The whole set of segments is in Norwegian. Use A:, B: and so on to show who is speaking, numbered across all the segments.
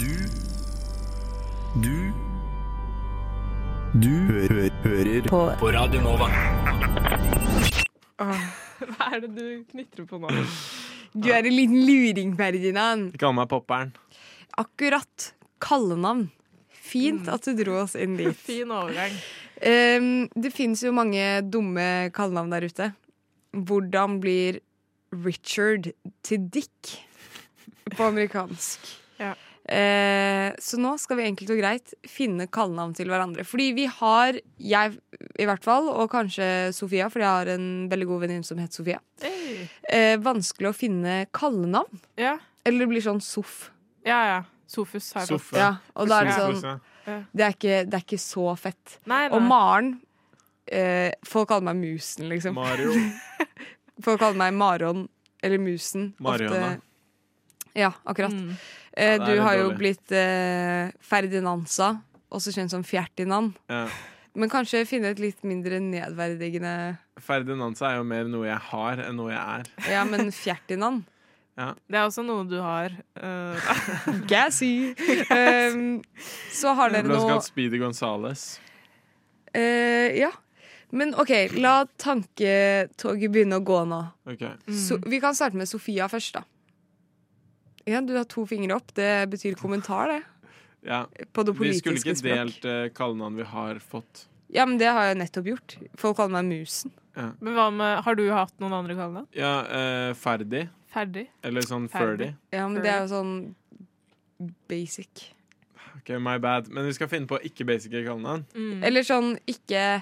A: Du Du Du hø hø hører på. på Radio Nova.
B: Hva er det du knitrer på nå?
C: Du er en liten luring, Ferdinand.
D: Ikke kall meg popperen.
C: Akkurat kallenavn. Fint at du dro oss inn dit.
B: Fin overgang.
C: Ehm, det finnes jo mange dumme kallenavn der ute. Hvordan blir Richard til Dick på amerikansk?
B: Ja.
C: Eh, så nå skal vi enkelt og greit finne kallenavn til hverandre. Fordi vi har, jeg i hvert fall, og kanskje Sofia, fordi jeg har en veldig god venninne som heter Sofia,
B: Hey.
C: eh, vanskelig å finne kallenavn.
B: Ja,
C: Eller det blir sånn Sof.
B: ja. ja. Sofus har jeg fått.
D: Sofa.
C: Ja, og da er det
D: Sofa.
C: sånn Det er ikke, det er ikke så fett.
B: Nei,
C: Og
B: nei.
C: Maren eh, Folk kaller meg Musen, liksom.
D: Mario.
C: Folk kaller meg Maron eller Musen.
D: Mariana.
C: Ofte. Ja, akkurat.
B: Mm.
C: Eh,
D: det er
C: du
D: litt
C: har jo
D: dårlig.
C: blitt eh, Ferdinansa, også kjent som Fjertinand.
D: Ja.
C: Men kanskje finne et litt mindre nedverdigende
D: Ferdinandsa er jo mer noe jeg har, enn noe jeg er.
C: Ja, men Fjertinand.
B: Det er også noe du har. eh,
C: Gassy! Um, så har
D: Jeg
C: dere
D: ble også
C: noe
D: kalt Speedy Gonzales.
C: eh, Ja. Men OK, la tanketoget begynne å gå nå.
D: Ok.
C: So,
B: Mm.
C: vi kan starte med Sofia først, da. Ja, du har to fingre opp. Det betyr kommentar, det.
D: Ja.
C: På det
D: Vi
C: politiske
D: skulle ikke
C: språk.
D: delt uh, kallenavn vi har fått.
C: Ja, men det har jeg nettopp gjort. Folk kaller meg Musen.
B: Men hva med Har du hatt noen andre kallenavn?
D: Ja, eh, Ferdi.
B: Ferdig?
D: Eller sånn
B: Ferdi.
D: Ferdi.
C: Ja, men det er jo sånn basic.
D: Ok, my bad. Men vi skal finne på ikke basic kallenavn.
B: Mm.
C: Eller sånn ikke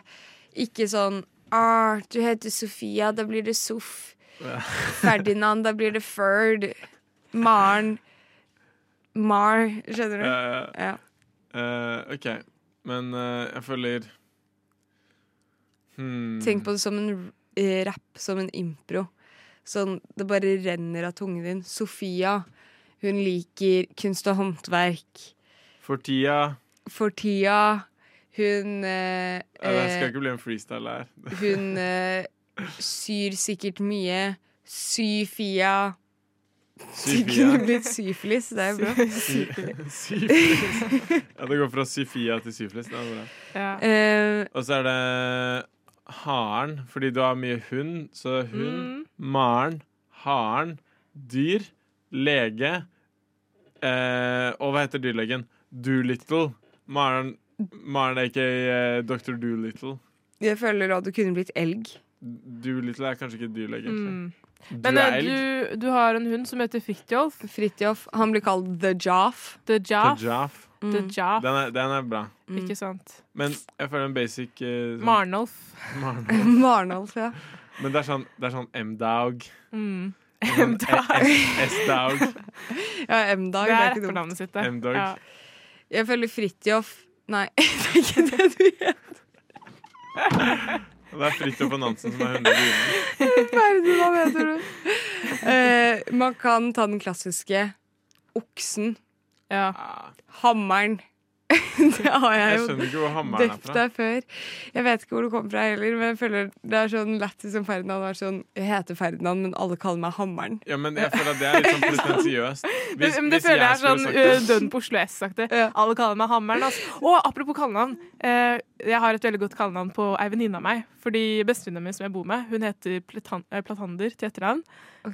C: Ikke sånn ah, Du heter Sofia, da blir det Sof.
D: Ja.
C: Ferdinand, da blir det Ferd. Maren. Mar. Skjønner du?
D: Eh,
C: Ja.
D: eh, OK. Men eh, jeg føler hmm.
C: Tenk på det som en r- eh, rap, som en impro. Sånn, det bare renner av tungen din. Sofia, hun liker kunst og håndverk.
D: For tida
C: For tida, hun eh,
D: Eh, Det skal
C: eh,
D: ikke bli en freestyle her.
C: Hun eh, syr sikkert mye. Syfia. Det kunne
D: Syfia.
C: blitt syfilis, det er bra.
D: Syfilis. Ja, det går fra syfia til syfilis. Det er bra.
B: Ja.
C: Eh,
D: Og så er det haren, fordi du har mye hund. Så
B: Mm.
D: hund, maren, haren, dyr, lege eh, Og hva heter dyrlegen? Doolittle. Maren, Maren er ikke eh, Dr. Doolittle.
C: jeg føler at du kunne blitt elg.
D: Doolittle er kanskje ikke dyrlege, egentlig.
B: Mm.
D: Du
B: Men eh,
D: er elg.
B: du, du har en hund som heter Fridtjof.
C: Fridtjof. Han blir kalt The Jaff.
B: The Mm. Jaff.
D: Tajaf.
B: The Jaff.
D: Den er, den er bra.
B: Ikke sant?
D: Men jeg føler en basic eh, sånn-
B: Marnolf.
D: Maren.
C: Marnolf, ja.
D: Men det er sånn, det er sånn M-Dog.
B: Mm.
D: Sånn
B: M-Dog.
D: S- S-Dog.
C: ja M-dag.
B: Det er
C: Det er ikke dumt.
B: etternavnet sitt, det.
D: M-Dog.
B: Ja.
C: Jeg føler Fridtjof Nei, det er ikke det du gjør.
D: Og det er Fridtjof og Nansen som er 100 kroner.
C: Verden, hva heter du? Eh, man kan ta den klassiske oksen,
B: Ja.
D: Ah,
C: hammeren. det har jeg
D: Jeg
C: jo
D: skjønner ikke hvor hammeren er
C: døpt
D: fra.
C: deg før. Jeg vet ikke hvor du kommer fra heller, men jeg føler det er sånn lættis som Ferdinand. Det er sånn, jeg heter Ferdinand, men alle kaller meg Hammeren.
D: Ja, men jeg føler at det er litt sånn pretensiøst.
B: Men, men det føler jeg er sånn uh, dønn på Oslo S-sakte.
C: Ja.
B: Alle kaller meg Hammeren. Altså. Og apropos kallenavn. eh, jeg har et veldig godt kallenavn på ei venninne av meg. Fordi bestevenninna mi som jeg bor med, hun heter Platan eh, Platander til etternavn.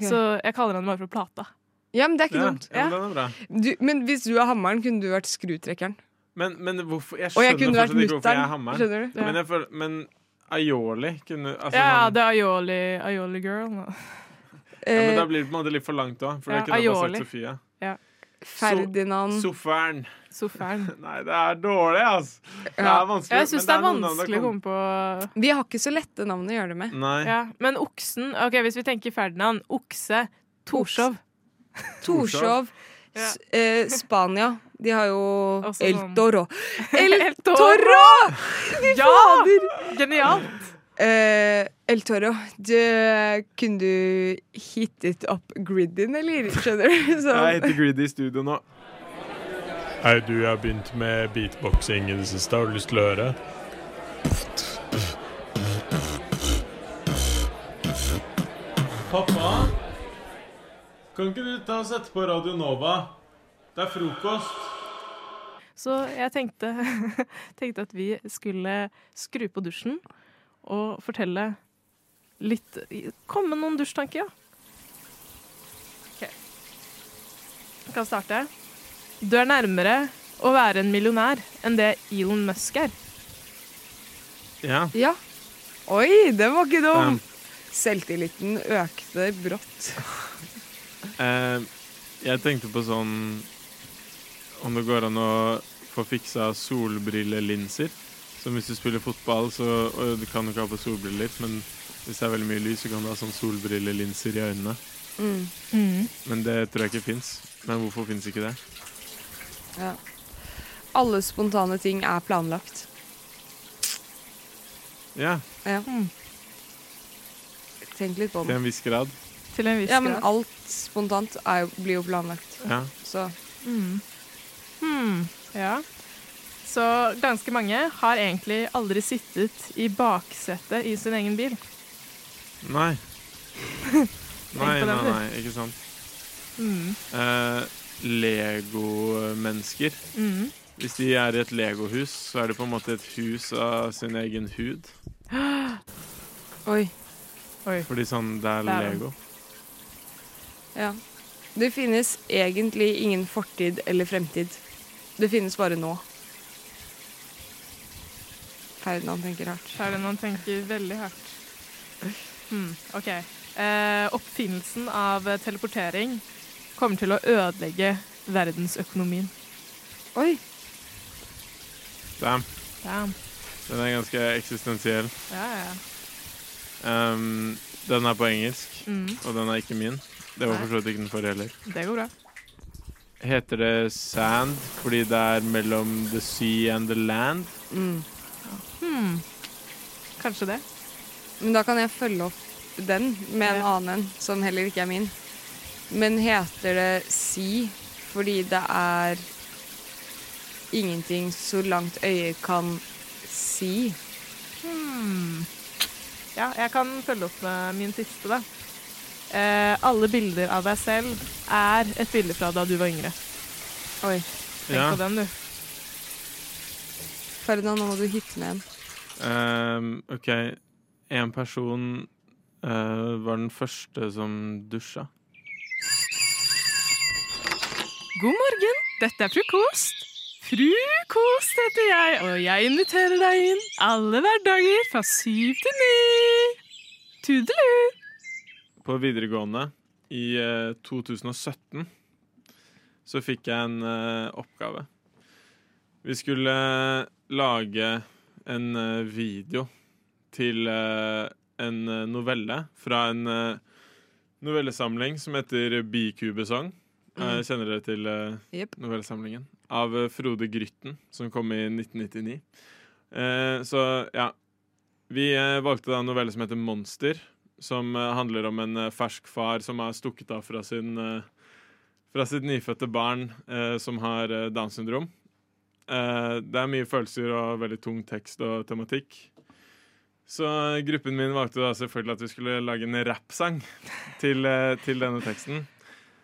B: Så jeg kaller henne bare for Plata.
C: Ja, men det er ikke
D: ja,
C: dumt.
D: ja, men den er bra.
C: Du, men hvis du er Hammeren, kunne du vært Skrutrekkeren.
D: Men, men hvorfor Jeg
C: Og
D: skjønner
C: jeg kunne vært
D: fortsatt ikke hvorfor jeg er
C: Mutter'n.
D: hammeren.
C: Skjønner du?
B: Ja.
D: Men, jeg føler, men Aioli kunne altså,
B: Ja, ja,
D: sånn-
B: det er Aioli, Aioli Girl. nå.
D: ja, men da
C: Eh,
D: blir det på en måte litt for langt òg, for
B: Ja,
D: jeg kunne bare
B: aioli.
D: sagt Sofia.
C: Ferdinand
D: Sofaen.
B: Sofaen.
D: Nei, det er dårlig, altså. Det
C: Ja.
D: er vanskelig.
B: Jeg syns
D: men
B: det er
D: noen navn
B: vanskelig å
D: kom-
B: komme på
C: Vi har ikke så lette navn å gjøre det med.
D: Nei.
B: ja. Men oksen ok, Hvis vi tenker Ferdinand, okse, Torshov.
C: Torshov, S eh, Spania. De har jo
B: Også
C: El
B: sånn-
C: Toro. El
B: El Toro!
C: Toro!
B: Ja! Genialt!
C: Eh, El Toro, du, kunne du hittet opp gridden, eller? Skjønner du?
D: Jeg
C: Sånn.
D: heter Greedy i studio nå.
E: Hei, du, jeg har begynt med beatboxing i det siste. Har du lyst til å høre?
D: Pappa, kan ikke du ta og sette på Radio Nova? Det er frokost.
B: Så jeg tenkte, tenkte at vi skulle skru på dusjen og fortelle litt Komme med noen dusjtanker, ja. OK. Jeg kan starte. Du er nærmere å være en millionær enn det Elon Musk er.
D: Ja.
C: Ja. Oi, den var ikke dum!
D: Um.
C: Selvtilliten økte brått.
D: Eh, jeg tenkte på sånn Om det går an å få fiksa solbrillelinser. Som hvis du spiller fotball, så og du kan jo ikke ha på solbriller, men hvis det er veldig mye lys, så kan du ha sånn solbrillelinser i øynene.
C: Mm.
D: Men det tror jeg ikke fins. Men hvorfor fins ikke det?
C: Ja. Alle spontane ting er planlagt.
D: Ja,
C: Ja.
B: Mm.
C: Hmm. Tenk litt på
D: til
C: den.
D: en viss grad.
B: Til en viss
C: Ja, men
B: grad.
C: alt spontant er, jo- blir jo planlagt.
D: Ja.
C: Så
B: Mm. Hmm, ja. Så ganske mange har egentlig aldri sittet i baksetet i sin egen bil.
D: Nei. Nei,
B: på den,
D: nei,
B: du.
D: nei, ikke sant.
B: Mm.
D: Eh, Legomennesker.
B: Mm.
D: Hvis de er i et legohus, så er det på en måte et hus av sin egen hud.
C: Oi.
B: Oi.
D: Fordi sånn, det er
B: Det er det.
D: Lego.
C: Ja. Det finnes egentlig ingen fortid eller fremtid. Det finnes bare nå. Ferdinand tenker hardt.
B: Så er det noen tenker veldig hardt. Hmm, OK. Eh, oppfinnelsen av eh, teleportering kommer til å ødelegge verdensøkonomien.
C: Oi.
D: Damn.
B: Damn.
D: Den er ganske eksistensiell.
B: Ja, ja. ja.
D: Ehm, den er på engelsk,
B: Mm,
D: og den er ikke min. Det var
B: Nei.
D: for så vidt ikke den forrige heller.
B: det går bra.
D: Heter det sand fordi det er mellom the sea and the land?
C: Mm.
B: Hmm. Kanskje det.
C: Men da kan jeg følge opp den med en
B: Ja.
C: annen en, som heller ikke er min. Men heter det si fordi det er ingenting så langt øyet kan si?
B: Hmm. Ja, jeg kan følge opp med min siste, da. Eh, alle bilder av deg selv er et bilde fra da du var yngre.
C: Oi.
B: Tenk
D: Ja.
B: på den, du.
C: Ferdinand, nå må du hitte med en.
D: Ehm, OK, en person eh, var den første som dusja.
B: God morgen, dette er fru Kost. Fru Kost heter jeg, og jeg inviterer deg inn alle hverdager fra syv til ni. Tudelu.
D: På videregående i eh, 2017 så fikk jeg en eh, oppgave. Vi skulle lage en eh, video til eh, en eh, novelle fra en eh, novellesamling som heter Bikubesang.
B: Mm.
D: Eh, kjenner dere til eh,
C: Jepp.
D: novellesamlingen? Av eh, Frode Grytten, som kom i 1999. Eh, så ja. Vi eh, valgte da en novelle som heter Monster, som eh, handler om en eh, fersk far som har stukket av fra sin eh, fra sitt nyfødte barn eh, som har eh, Downs syndrom. Eh, det er mye følelser og veldig tung tekst og tematikk. Så eh, gruppen min valgte da selvfølgelig at vi skulle lage en rappsang til, eh, til denne teksten. eh,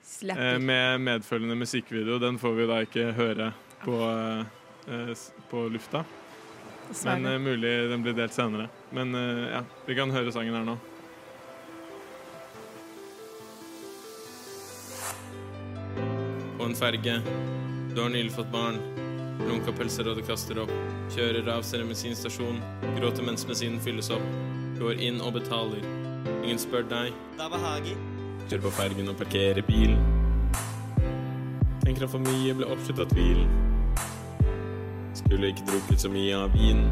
C: Slapper.
D: med medfølgende musikkvideo. Den får vi da ikke høre på, eh, eh, s- på lufta. Men
B: Dessverre.
D: eh, mulig den blir delt senere. Men eh, ja, vi kan høre sangen her nå. På en ferge. Du har nylig fått barn. Lunka pelsrådet kaster opp. Kjører av ser med sin stasjon. Gråter mens bensinen fylles opp. Går inn og betaler. Ingen spør deg. Kjører på fergen og parkerer bilen. Tenker at for mye ble oppslutt av tvil. Skulle ikke drukket så mye av vin.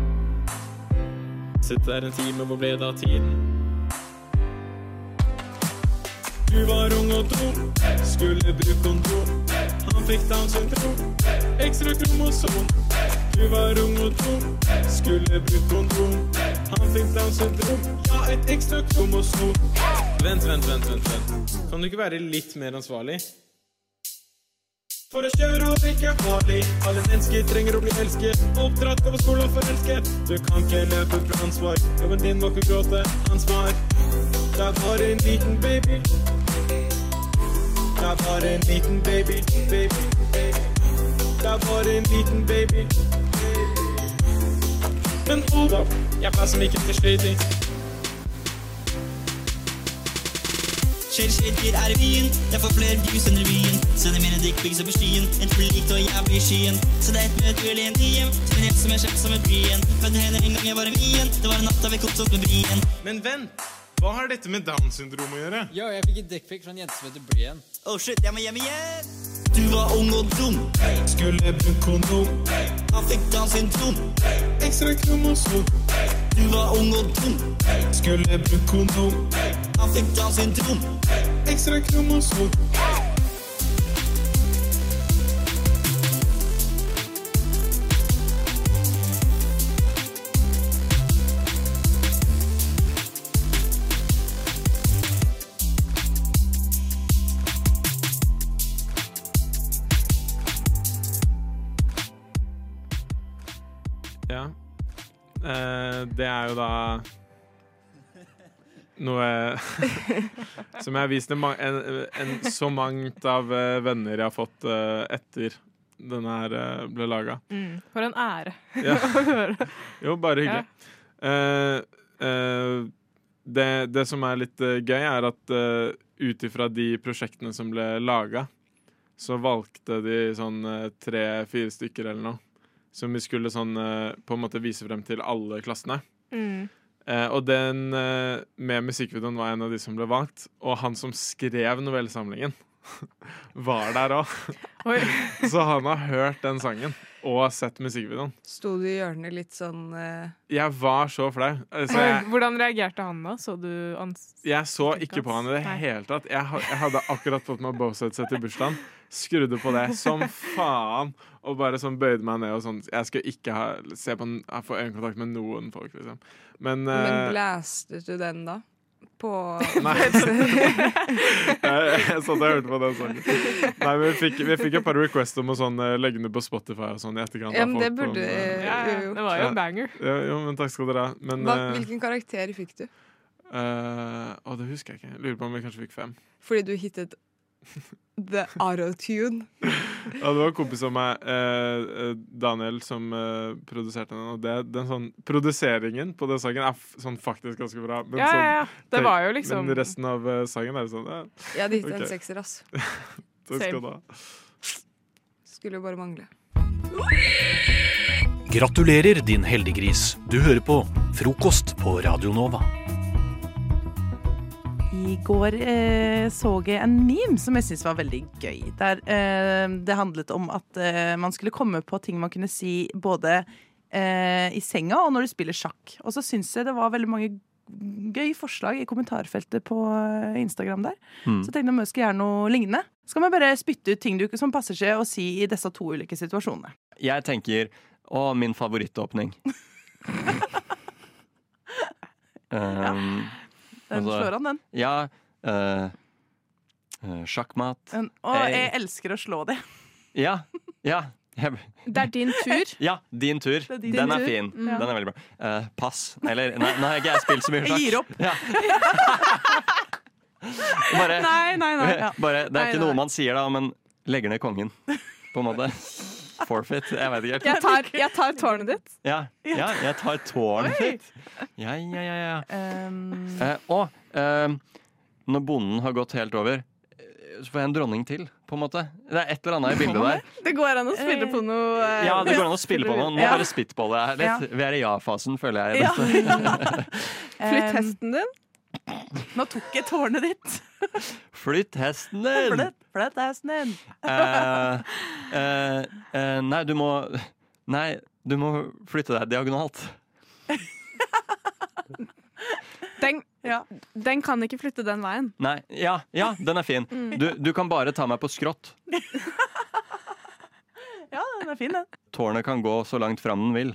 D: Sitte der en time, hvor ble det av tiden? Du var ung og dum, skulle brukt kondom. Han fikk Downs syndrom, ekstra kromosom. Du var ung og dum, skulle brukt kondom. Han fikk Downs syndrom, ja, et ekstra kromosom. Vent, vent, vent, vent, vent. Kan du ikke være litt mer ansvarlig? For å kjøre og drikke er farlig. Alle mennesker trenger å bli elsket. Oppdratt av skole og forelsket. Du kan ikke løpe fra ansvar. Jobben din var ikke å gråte ansvar. Det er bare en liten baby. Det er bare en liten baby, baby, baby.
F: er bare en liten baby. Men Oda, jeg passer meg ikke til sløyding.
G: Kjellkirker er i byen. Jeg får flere views enn revyen. Sender mine dickpics over skyen. Et blikk og jeg blir skyen. Så det er et møte eller en DM. Til en jente som er kjent som et brien. Møtte henne en gang jeg var en bien. Det var en natt da vi koste oss med brien.
D: Men vent, hva har dette med Down syndrom å gjøre?
H: Yo, jeg fikk en dickpic fra en sånn jente som heter Brian.
G: Oh shit, jeg må hjem igjen. Du var ung og dum.
F: Skulle brukt kondom.
G: Han fikk Downs syndrom.
F: Ekstra kromosom.
G: Du var ung og dum.
F: Skulle brukt kondom.
G: Han fikk Downs syndrom.
F: Ekstra kromosom.
D: Ja. Eh, det er jo da noe som jeg har vist en, ma- en, en, så mangt av eh, venner jeg har fått eh, etter denne her eh, ble laga.
B: Mm. For en ære
D: Ja.
B: å høre.
D: Jo, bare hyggelig. Eh, eh, det, det som er litt eh, gøy, er at uh, ut ifra de prosjektene som ble laga, så valgte de sånn tre-fire stykker eller noe. Som vi skulle sånn eh, på en måte vise frem til alle klassene.
B: Mm.
D: Eh, og den eh, med musikkvideoen var en av de som ble valgt. Og han som skrev novellesamlingen, var der òg.
B: Oi.
D: Så han har hørt den sangen og sett musikkvideoen.
C: Sto du i hjørnet litt sånn eh,
D: Jeg var så flau. Så jeg,
B: Hvordan reagerte han da? Så du ans...
D: Jeg så ikke på han i det
B: Nei.
D: hele tatt. Jeg, ha- jeg hadde akkurat fått meg Boset-sett i bursdagen. Skrudde på det som faen og bare sånn bøyde meg ned og sånn. Jeg skal ikke ha, se på, n- ha- få øyekontakt med noen folk, liksom. Men,
C: Men
D: eh,
C: blastet du den da? På
D: jeg, jeg satt og hørte på den sangen. Nei, men vi fikk, vi fikk et par requests om å sånn, eh, legge den ut på Spotify og sånn i etterkant.
C: Ja,
D: av
C: men det
D: folk om,
C: burde
D: eh,
B: Ja, ja,
C: jo,
B: det
C: jo.
B: var jo
D: Ja.
B: en banger.
D: ja, Jo, men takk skal dere ha. Men
C: Hva,
D: eh,
C: Hvilken karakter fikk du?
D: eh, Å, det husker jeg ikke. Lurer på om vi kanskje fikk fem.
C: Fordi du hittet The Autotune.
D: Ja, det var en kompis av meg, eh, eh, Daniel, som eh, produserte den. Og det, den sånn, produseringen på den sangen er f sånn faktisk ganske bra. Men,
B: Ja, ja,
D: sånn,
B: ja. Det var jo liksom
D: men resten av eh, sangen er sånn ja,
C: Jeg hadde hittet
D: Ok.
C: en sekser, ass.
D: Takk skal
B: Same.
D: du ha.
C: Skulle jo bare mangle.
A: Gratulerer, din heldiggris. Du hører på Frokost på Radio Nova.
I: I går eh, så jeg en meme som jeg syntes var veldig gøy. Der eh, det handlet om at eh, man skulle komme på ting man kunne si både eh, i senga og når du spiller sjakk. Og så syns jeg det var veldig mange gøy forslag i kommentarfeltet på eh, Instagram der. Så tenkte jeg om jeg skulle gjøre noe lignende. Så kan man bare spytte ut ting du, som passer seg å si i disse to ulike situasjonene.
J: Jeg tenker Å, min favorittåpning. um,
I: Den
J: Altså-
I: slår han, den.
J: ja eh, eh, Sjakkmat.
I: den. Og
J: Hey.
I: jeg elsker å slå det.
J: Ja. Ja. Jeg,
B: Det er din tur.
J: ja, din tur.
I: er din
J: Den er
I: tur. Mm.
J: fin.
I: Ja.
J: Den er veldig bra. Eh, pass. Eller Nei, nå har ikke jeg spilt så mye
I: Jeg
J: sjakk.
I: gir opp.
J: Ja. Bare,
B: Nei, nei, nei.
I: ja.
J: bare, det er
B: Nei,
J: ikke
B: nei.
J: noe man sier da, men legger ned kongen, på en måte. Forfeit. Jeg vet ikke helt.
B: Jeg tar, jeg tar tårnet ditt.
J: Ja, ja jeg tar tårnet
I: Oi.
J: ditt. Ja, ja, ja. ja.
I: Um,
J: Eh, og ehm, når bonden har gått helt over, eh, så får jeg en dronning til, på en måte. Det er et eller annet i bildet der.
B: Det går an å spille på noe eh,
J: Ja, det går an å spille på noe. Nå
I: Ja.
J: bare spitballer jeg her litt. Vi er i ja-fasen, føler jeg. i
I: ja.
J: dette.
B: Flytt hesten din.
I: Um, nå tok jeg tårnet ditt.
J: Flytt hesten din!
I: Flytt, flytt hesten din.
J: Eh, eh, eh, nei, du må Nei, du må flytte deg diagonalt.
K: Den,
I: Ja.
K: den kan ikke flytte den veien.
J: Nei, ja, ja, den er fin.
I: Mm.
J: Du, du kan bare ta meg på skrått.
I: Ja, den er fin, den.
J: Tårnet kan gå så langt fram den vil.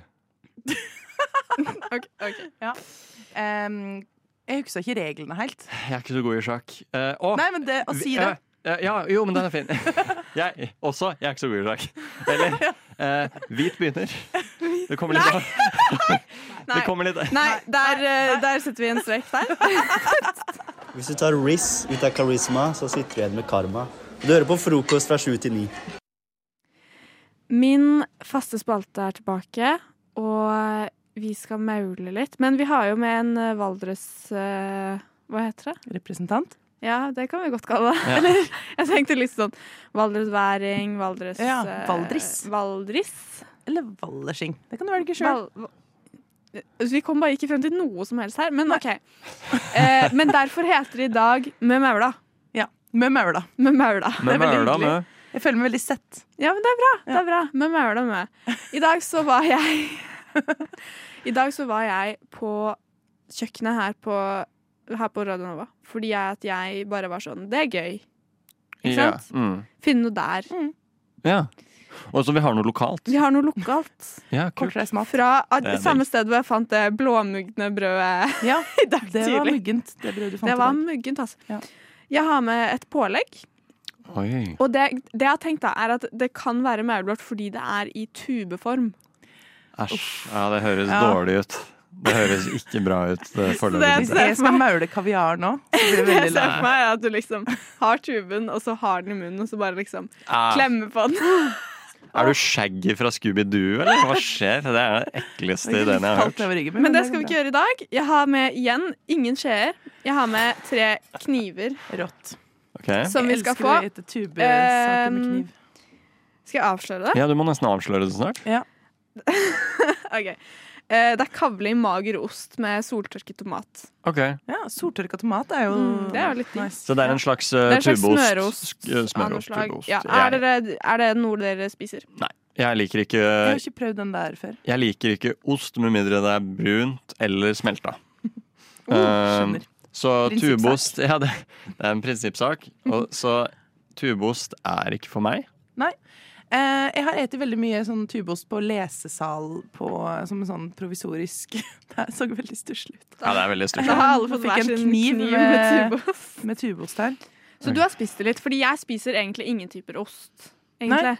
I: Ehm, jeg husker ikke reglene helt.
J: Jeg er ikke så god i sjakk. Eh, å,
I: Nei, men det å si det
J: eh, eh, ja, jo, men den er fin. Jeg, også, jeg er ikke så god i sjakk. Eller eh, hvit begynner. Det kommer litt av. Det kommer litt av.
K: Nei, der, eh, der setter vi en strek der.
G: Hvis du tar Riz ut av karisma, så sitter du igjen med karma. Du hører på frokost fra sju til ni.
K: Min faste spalte er tilbake, og eh, vi skal maule litt. Men vi har jo med en eh, Valdres eh, Hva heter det?
I: Representant?
K: Ja, det kan vi godt kalle det.
I: Ja.
K: Eller jeg tenkte litt sånn Valdres-væring, Valdres
I: Ja,
K: eh,
I: Valdris.
K: Valdris.
I: Eller Valdersing. Det kan du velge sjøl.
K: Altså, Vi kom bare ikke frem til noe som helst her, men OK. Eh, men derfor heter det i dag Med maula.
I: Ja. Med maula.
K: Med maula.
J: Med
K: Det er veldig
J: maula,
K: hyggelig.
J: med.
I: Jeg føler meg veldig sett.
K: Ja, men det er bra. det er bra. Med maula med. I dag så var jeg I dag så var jeg på kjøkkenet her på, her på Radio Nova fordi jeg, at jeg bare var sånn Det er gøy. Ikke
J: Ja,
K: sant?
J: mm.
K: Finne noe der.
I: Mm.
J: Ja. Og så vi har noe lokalt.
K: Vi har noe lokalt.
J: Ja, kult.
K: Fra at,
J: Det er
K: samme sted hvor jeg fant det blåmugne brødet i dag
I: Det
K: tidlig.
I: var muggent, det brødet du fant
K: Det var
I: i dag.
K: muggent, altså. Jeg har med et pålegg.
J: Oi.
K: Og det, det jeg har tenkt da, er at det kan være maurblått fordi det er i tubeform.
J: Æsj. Ja, det høres
K: Ja.
J: dårlig ut. Det høres ikke bra ut. eh,
K: det-
J: Foreløpig.
I: Hvis jeg skal maule kaviar nå, så blir det
K: Det jeg
I: veldig
K: ser for
I: langt.
K: meg er at du liksom har tuben, og så har den i munnen, og så bare liksom
J: Ah.
K: klemmer på den.
J: Er du Shaggy fra Scooby-Doo, eller hva skjer? Det er den ekleste ideen jeg har hørt.
K: Men det skal vi ikke gjøre i dag. Jeg har med igjen ingen skjeer. Jeg har med tre kniver
I: Rått.
J: Ok.
K: som vi
I: Jeg
K: skal
I: elsker
K: få.
I: å ete tubesaker med
K: Ehm, Skal jeg avsløre det?
J: Ja, du må nesten avsløre det snart.
K: Ok. Eh, Det er kavling mager ost med soltørket tomat.
J: Ok.
I: Ja, Soltørka tomat er jo
K: Mm, det er jo litt digg.
J: Så det er en slags eh,
K: Det er en slags
J: tubeost?
K: smørost
J: sk- eh,
K: av noe
J: Smørost,
K: slag.
J: tubeost.
K: Ja, er,
J: Jeg,
K: dere, er det noe dere spiser?
J: jeg liker ikke
I: Jeg har ikke prøvd den der før.
J: Jeg liker ikke ost med mindre det er brunt eller smelta.
I: Oh, skjønner.
J: Eh, så
I: Prinsippsak.
J: tubeost Ja, det, det er en prinsippsak. Og, så tubeost er ikke for meg.
I: Nei. Eh, jeg har spist veldig mye sånn tubeost på lesesal på, som en sånn provisorisk Det så veldig stusslig ut.
J: Ja, det er veldig stusslig.
K: Da har alle fått
I: Fikk
K: hver
I: en
K: sin
I: kniv
K: kniv
I: med-
K: med tubeost.
I: Med tubeost her.
K: Så du har spist det litt, fordi jeg spiser egentlig ingen typer ost. Egentlig.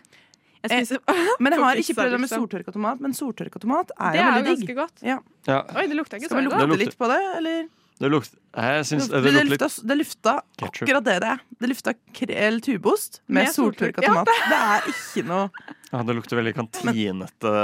K: Jeg
I: Eh,
K: spiser
I: men jeg
K: på
I: har
K: pizza,
I: ikke prøvd det med
K: liksom.
I: soltørka tomat, men soltørka tomat er
K: Det
I: jo
K: er jo
I: veldig digg.
K: ganske godt.
I: Ja.
J: Ja.
K: Oi, det lukta ikke så
I: Skal vi
K: ille.
I: lukte
J: Det lukter-
I: litt på det, eller?
J: Det lukter Jeg syns
I: Det,
J: det lukter
I: lufta,
J: litt
I: det lufta
J: Ketchup.
I: akkurat det det er. Det lufta krell tubeost med,
J: Med soltørka.
I: soltørka
J: Ja,
I: tomat. Det er ikke noe
J: Ja, det lukter veldig kantinete,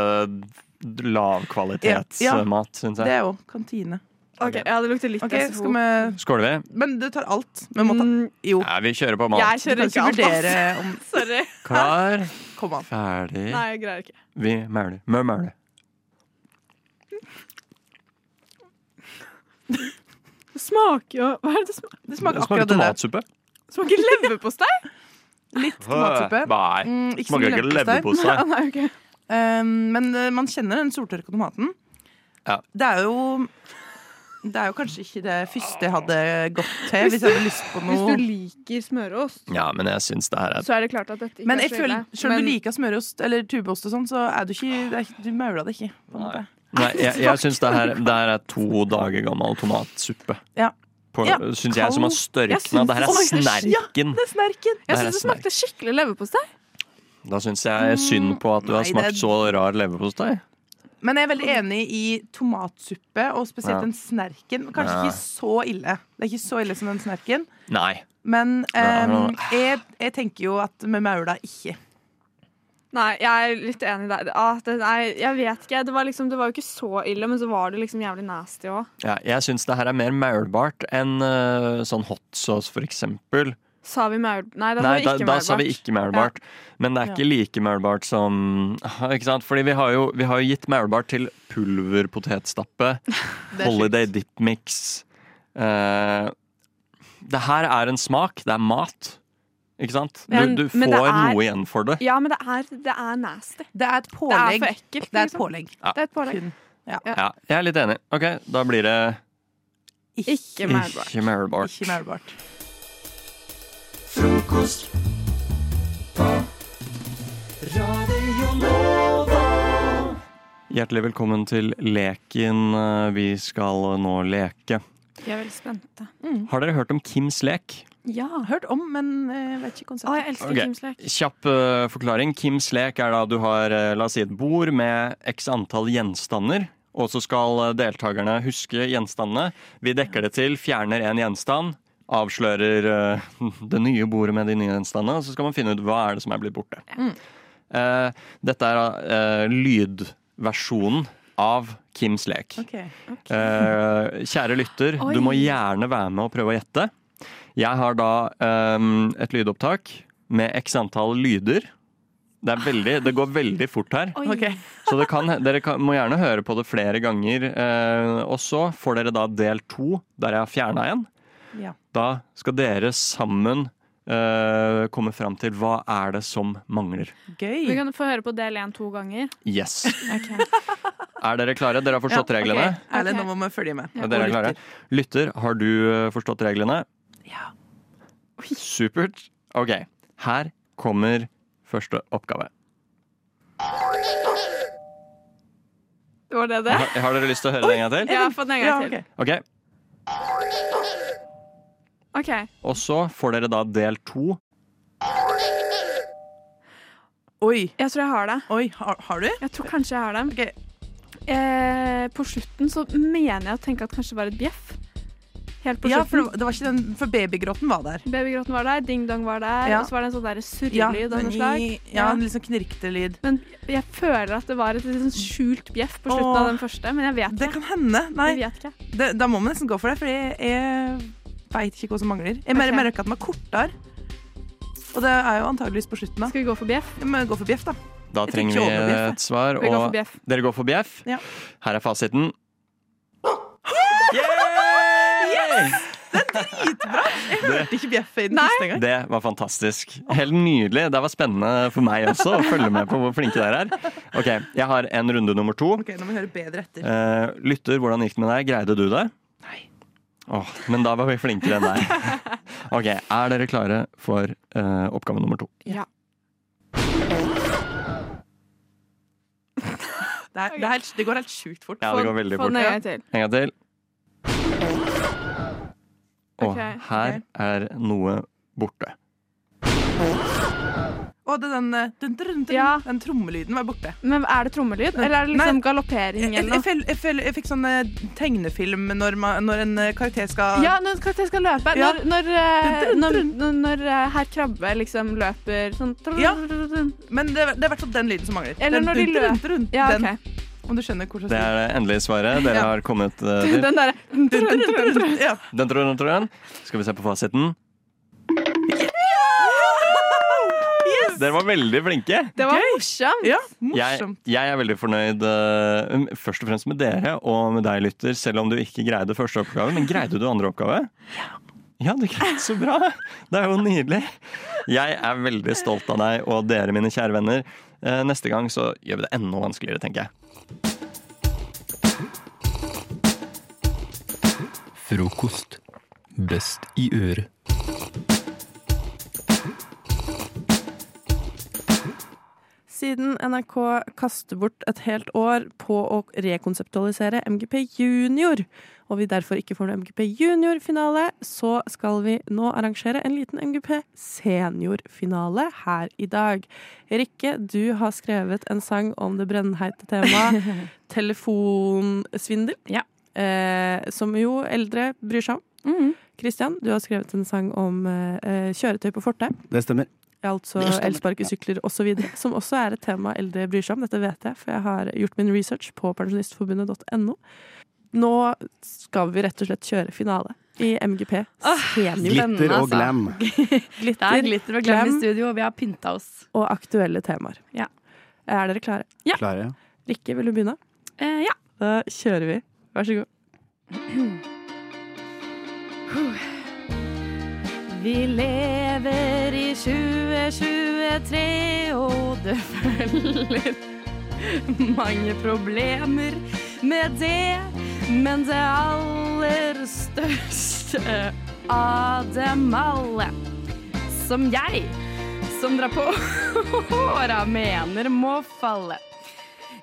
J: lavkvalitetsmat,
I: Ja, ja.
J: syns
I: Det er
J: jeg.
I: jo kantine.
K: Ok, ja, det lukter litt
I: Ok,
K: SFO.
I: skal vi
J: Skåler vi?
I: Men du tar alt med måte. Jo.
J: Nei, vi kjører på mat.
I: Jeg kjører ikke alt, ass.
K: Sorry.
J: Klar,
I: Kom an.
J: ferdig,
K: Nei, jeg greier ikke.
J: vi mauler. Mø mauler.
K: Det smaker jo Hva er det det smaker?
I: Det
J: Det smaker tomatsuppe.
K: Det smaker leverpostei.
I: Litt tomatsuppe.
J: Nei.
I: Mm, ikke så
J: Smaker
I: mye
J: ikke
I: leverpostei.
J: leverpostei.
K: Nei, ok.
I: Um, men eh, man kjenner den soltørka tomaten.
J: Ja.
I: Det er jo Det er jo kanskje ikke det første jeg hadde gått til hvis jeg hadde lyst på
K: Hvis du
I: noe.
K: liker smøreost,
J: Ja, men jeg syns det her er
K: så er det klart at dette ikke
I: Men
K: er
I: jeg
K: så
I: føler,
K: ille.
I: selv om
K: Men-
I: du liker smøreost eller tubeost og sånn, så er du ikke det er, ikke- Du maula det ikke, på en måte.
J: Nei, jeg, jeg syns det her det her er to dager gammel tomatsuppe.
I: Ja.
J: På,
I: Ja,
J: Syns jeg som har
I: kald- Jeg syns
J: størkna. Det her er
I: det- Oi,
J: snerken.
I: Det er snerken.
J: Jeg Det her synes er det smakte
K: skikkelig leverpostei.
J: Da syns jeg synd på at du har
I: Nei,
J: smakt
I: det-
J: så rar leverpostei.
I: Men jeg er veldig enig i tomatsuppe, og spesielt
J: Ja.
I: den snerken. Kanskje
J: Ja.
I: ikke så ille. Det er ikke så ille som den snerken.
J: Nei.
I: Men
J: Ja,
I: em,
J: ja.
I: jeg, jeg tenker jo at med maula ikke.
K: Nei, jeg er litt enig der. Ah, det, nei, jeg vet ikke. Det var, liksom, det var jo ikke så ille, men så var det liksom jævlig nasty òg.
J: Ja, jeg syns det her er mer maulbart enn eh, sånn hot sauce, for eksempel.
K: Sa vi maul... Nei, da sa
J: Nei,
K: vi
J: da,
K: ikke
J: da sa
K: maulbart.
J: vi ikke maulbart. Men det er ikke like maulbart som Ikke sant? Fordi vi har jo, vi har jo gitt maulbart til pulverpotetstappe,
I: Det er
J: Holiday Dip Mix. Eh, det her er en smak. Det er mat. Ikke sant? Du,
K: Men-
J: du får
K: men det er-
J: noe igjen for det.
K: Ja, men det er, det er nasty.
I: Det er et
K: pålegg. Det er for ekkelt.
I: Det er et
K: liksom.
I: pålegg.
J: Ja.
K: Det er et pålegg.
J: Ja, jeg er litt enig. OK, da blir det
K: Ikke maulbart.
J: ikke maulbart.
I: Ikke maulbart.
G: Frokost Radio Nova
J: Hjertelig velkommen til leken eh, vi skal nå leke.
K: Vi er veldig spente.
J: Har dere hørt om Kims lek?
K: Ja.
I: Mm. Hørt om, men eh, vet ikke konseptet.
K: Å, jeg elsker
J: Ok,
K: Kims lek.
J: Kjapp eh, forklaring. Kims lek er da du har eh, la oss si et bord med x antall gjenstander. Og så skal eh, deltakerne huske gjenstandene. Vi dekker det til, fjerner en gjenstand. Avslører eh, det nye bordet med de nye gjenstandene. Og så skal man finne ut hva er det som er blitt borte. Eh, dette er eh, lydversjonen av Kims lek. Eh, kjære lytter,
L: Oi.
J: du må gjerne være med og prøve å gjette. Jeg har da ehm, et lydopptak med x antall lyder. Det, er veldig, det går veldig fort her.
L: Oi. Ok.
J: Så det kan, dere kan, må gjerne høre på det flere ganger. eh, og så får dere da del to, der jeg har fjerna en.
I: Ja.
J: Da skal dere sammen eh, komme fram til hva er det som mangler.
K: Vi kan få høre på del én to ganger.
J: Yes. Er dere klare? Dere har forstått
I: Ja, ok.
J: reglene?
I: Erlend, nå må vi følge med.
J: Og dere er klare. Lytter, har du eh, forstått reglene? Ja. Supert. Ok, her kommer første oppgave.
K: Var det det?
J: Har, har dere lyst til å høre det en gang til?
K: Ja, få den en gang til.
J: Ok,
K: OK.
J: Og så får dere da del to.
I: Oi.
K: Jeg tror jeg har det.
I: Oi, har, du?
K: Jeg tror kanskje jeg har det. Eh, på slutten så mener jeg å tenke at kanskje det var et bjeff. Helt på
I: Ja,
K: slutten.
I: for, det var- det var ikke den, for babygråten var der.
K: Babygråten var der, ding-dong var der,
I: Ja.
K: og så var det en sånn der
I: Ja,
K: surrelyd av noe
I: den-
K: slag.
I: ja, en litt sånn knirkete lyd.
K: Men jeg føler at det var et litt sånn skjult bjeff på slutten
I: Åh.
K: av den første, men jeg vet ikke.
I: Det kan hende. Nei.
K: Jeg vet ikke.
I: Det, da må vi nesten gå for det, for jeg, jeg veit ikke hva som mangler. Jeg mer-
K: Ok.
I: merker at den er kortere. Og det er jo antageligvis på slutten. Da.
K: Skal vi gå for bjeff?
I: Vi gå for bjeff, da.
J: Da
I: Jeg
J: trenger
I: tenker
J: vi
I: over bjeff, jeg.
J: et svar.
I: Vi går for
J: Og
I: bjeff.
J: dere går for bjeff.
I: Ja.
J: Her er fasiten.
I: Yes! Det er dritbra! Jeg hørte ikke bjeffet i den første engang.
J: Det var fantastisk. Helt nydelig. Det var spennende for meg også å følge med på hvor flinke dere er. Ok, Jeg har en runde nummer to.
I: Ok, nå må vi høre bedre etter.
J: Eh, lytter, hvordan gikk det med deg? Greide du det? Nei. Åh, men da var vi flinkere enn deg. Ok, Er dere klare for eh, oppgave nummer to?
K: Ja.
I: Det, er, det, er helt, det går helt sjukt fort.
J: Ja, det går veldig fort. En gang til. Og
I: Ok,
J: her er noe borte.
I: Og det, den, eh, dun, dun, dun, dun, den trommelyden var borte.
K: Men er det trommelyd, eller er det liksom galoppering
I: Jeg,
K: eller
I: jeg,
K: noe?
I: føl- jeg, føl- jeg fikk sånn eh, tegnefilm når, man, når en eh, karakter skal
K: Ja, når karakter skal løpe.
I: Ja.
K: Når, når, eh,
I: Dun, dun,
K: når, når, når eh, herr Krabbe liksom løper sånn
I: Ja. Men det, det er i hvert fall den lyden som mangler.
K: Eller
I: Den
K: når de
I: dun, dun,
K: løper.
I: dun, dun,
K: Ja,
I: den.
K: ok.
I: Om du skjønner hvordan
J: Det er det endelige svaret dere
I: Ja.
J: har kommet eh, til.
K: Den derre dun, dun, dun, dun, dun.
I: Ja.
J: Den tror jeg, den tror jeg. Skal vi se på fasiten. Dere var veldig flinke.
K: Det var morsomt.
J: Jeg, jeg er veldig fornøyd eh, først og fremst med dere og med deg, lytter, selv om du ikke greide første oppgave. Men greide du andre oppgave? Ja, du greide så bra! Det er jo nydelig. Jeg er veldig stolt av deg og dere, mine kjære venner. Eh, Neste gang så gjør vi det enda vanskeligere, tenker jeg.
A: Frokost. Best i øret.
M: Siden NRK kaster bort et helt år på å rekonseptualisere MGP Junior, og vi derfor ikke får noe MGP Junior-finale, så skal vi nå arrangere en liten MGP Senior-finale her i dag. Rikke, du har skrevet en sang om det brennheite temaet telefonsvindel, eh, som jo eldre bryr seg om. Kristian, du har skrevet en sang om eh, kjøretøy på fortau.
N: Det stemmer.
M: Altså
N: Det stemmer.
M: elsparkesykler osv., som også er et tema eldre bryr seg om. Dette vet jeg, for jeg har gjort min research på pensjonistforbundet.no. Nå skal vi rett og slett kjøre finale i MGP. senior.
N: Glitter
K: altså.
N: og glam.
M: glitter,
O: Det er glitter og glam i studio, og vi har pynta oss.
M: Og aktuelle temaer. Er dere klare?
N: Klare?
M: Rikke, vil du begynne?
K: Eh,
O: ja.
M: Da kjører vi. Vær så god.
O: Vi lever i 2023, og det følger mange problemer med det. Men det aller største av dem alle, som jeg, som drar på håra, mener må falle.